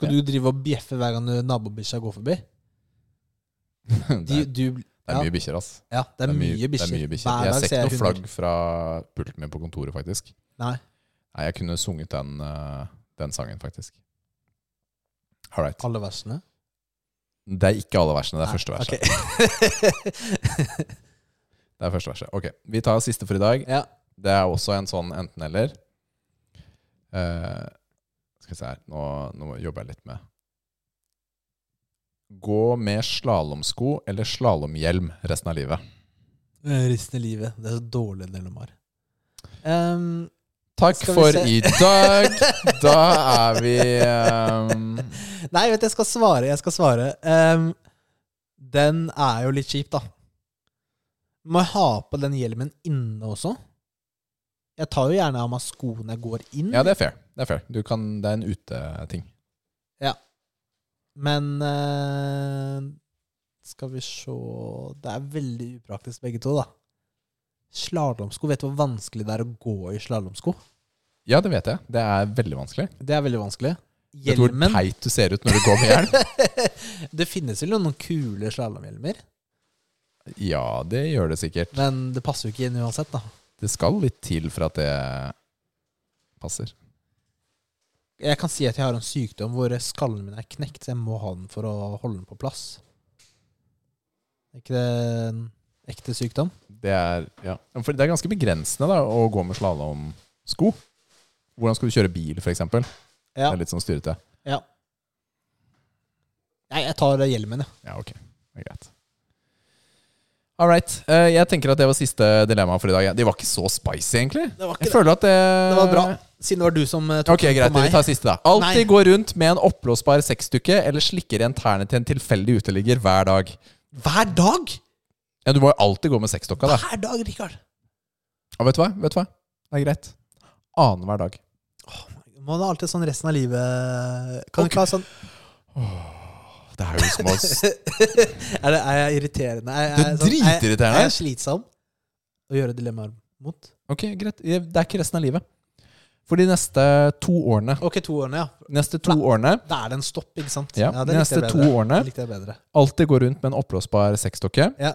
Skal du drive og bjeffe hver gang du- nabobikkja går forbi? Det De, er, du, det er mye bikkjer, ass. ja, det er mye det er bikkjer. mye Hver Jeg dag ser ikke noe hunder. flagg fra pulten min på kontoret, faktisk. Nei. Nei, jeg kunne sunget den, eh, den sangen, faktisk. All right. Alle versene. Det er ikke alle versene, det er første verset. verset. Det er første verset. Ok, Vi tar siste for i dag. ja. Det er også en sånn enten-eller. Eh, skal vi se her nå, nå jobber jeg litt med Gå med slalåmsko eller slalåmhjelm resten av livet. Eh, Resten av livet. Det er så dårlig en del om har. Ehm, Takk Skal vi for se. i dag! Da er vi ehm, nei, vet du, jeg skal svare. Jeg skal svare. Ehm, den er jo litt kjip, da. Må jeg ha på den hjelmen inne også? Jeg tar jo gjerne av meg skoene jeg går inn, Ja, det er fair. Det er, fair. Du kan, det er en uteting. men eh, Skal vi se Det er veldig upraktisk, begge to, da. Slalåmsko. Vet du hvor vanskelig det er å gå i slalåmsko? Ja, det vet jeg. Det er veldig vanskelig. Det er veldig vanskelig. Vet du hvor Hjelmen teit du ser ut når du går med hjelm? Det finnes vel noen kule slalåmhjelmer, Ja, det gjør det sikkert. men det passer jo ikke inn uansett, da. Det skal litt til for at det passer. Jeg kan si at jeg har en sykdom hvor skallen min er knekt, så jeg må ha den for å holde den på plass. Er ikke det en ekte sykdom? Det er, ja. for det er ganske begrensende da, å gå med slalåmsko. Hvordan skal du kjøre bil, f.eks.? eksempel Det Ja. er litt sånn styrete. ja. Nei, jeg tar hjelmen, ja. Ja, ok. Det er greit. All right. Eh, Jeg tenker at det var siste dilemma for i dag. De var ikke så spicy, egentlig. Det var Jeg føler at det Det var bra, siden det var du som eh, tok Ok, greit. den på Vi meg. tar siste, da. Alltid Nei. gå rundt med en oppblåsbar sexdukke eller slikker i interne til en tilfeldig uteligger hver dag. Hver dag! Ja, Du må jo alltid gå med sexdokka, da. Hver dag, Rikard! Og vet du hva? Vet du hva? Det er greit. Annenhver dag. Må det alltid sånn resten av livet Kan du ikke ha sånn Det er jo som å er, det, er jeg irriterende? Er, Du er, jeg sånn- er er jeg- dritirriterende. Er jeg slitsom å gjøre dilemmaer mot? Ok, greit. Jeg- Det er ikke resten av livet. For de neste to årene Ok, to årene, ja. Neste to årene Da er det en stopp, ikke sant? Ja, det likte jeg neste bedre. to årene. Det likte jeg bedre. alltid gå rundt med en oppblåsbar sexdokke. Ja.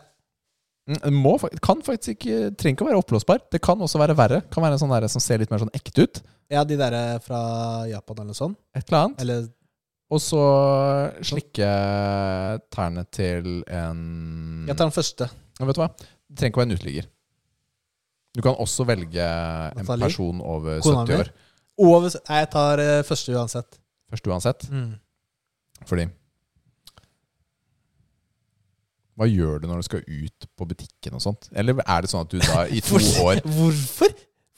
Mm, det Må, fak- kan faktisk ikke, trenger ikke å være oppblåsbar. Det kan også være verre. Kan være en sånn der som ser litt mer sånn ekte ut. ja, de der eh, fra Japan eller sånn. Et eller annet. Eller Og så slikke tærne til en Jeg tar den første. Ja, Vet du hva? Det trenger ikke å være en uteligger. Du kan også velge en Natalie? person over Kona 70 mi? år. Over, nei, jeg tar eh, første uansett. Først uansett. Fordi Hva gjør du når du skal ut på butikken og sånt? Eller er det sånn at du da i to år Hvorfor?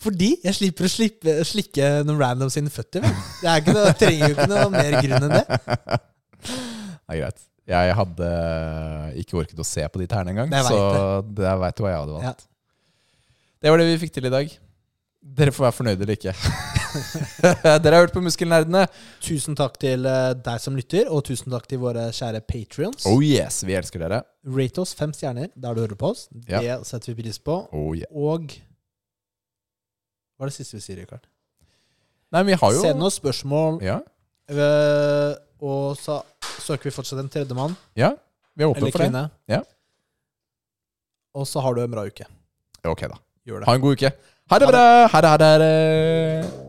Fordi jeg slipper å slippe, slikke noen random sine føtter. vel? Det er ikke noe, trenger jo ikke noe mer grunn enn det. Nei, greit. Jeg hadde ikke orket å se på de tærne engang, Det vet så der veit du hva jeg hadde Ja. valgt. Det var det vi fikk til i dag. Dere får være fornøyde eller ikke. Dere har hørt på Muskelnerdene. Tusen takk til eh, deg som lytter, og tusen takk til våre kjære patrions. Oh yes, vi elsker dere. Rate oss fem stjerner der du hører på oss. Det setter vi pris på. Oh yeah. Og Hva er det siste vi sier, Rikard? Nei, men vi har jo Send oss spørsmål, Ja, øh, og så søker vi fortsatt en tredjemann ja. vi er åpne eller for det. kvinne. Ja. Og så har du en bra uke. Ok, da. Gjør det. Ha en god uke. Ha det bra! Ha det, ha det, ha det.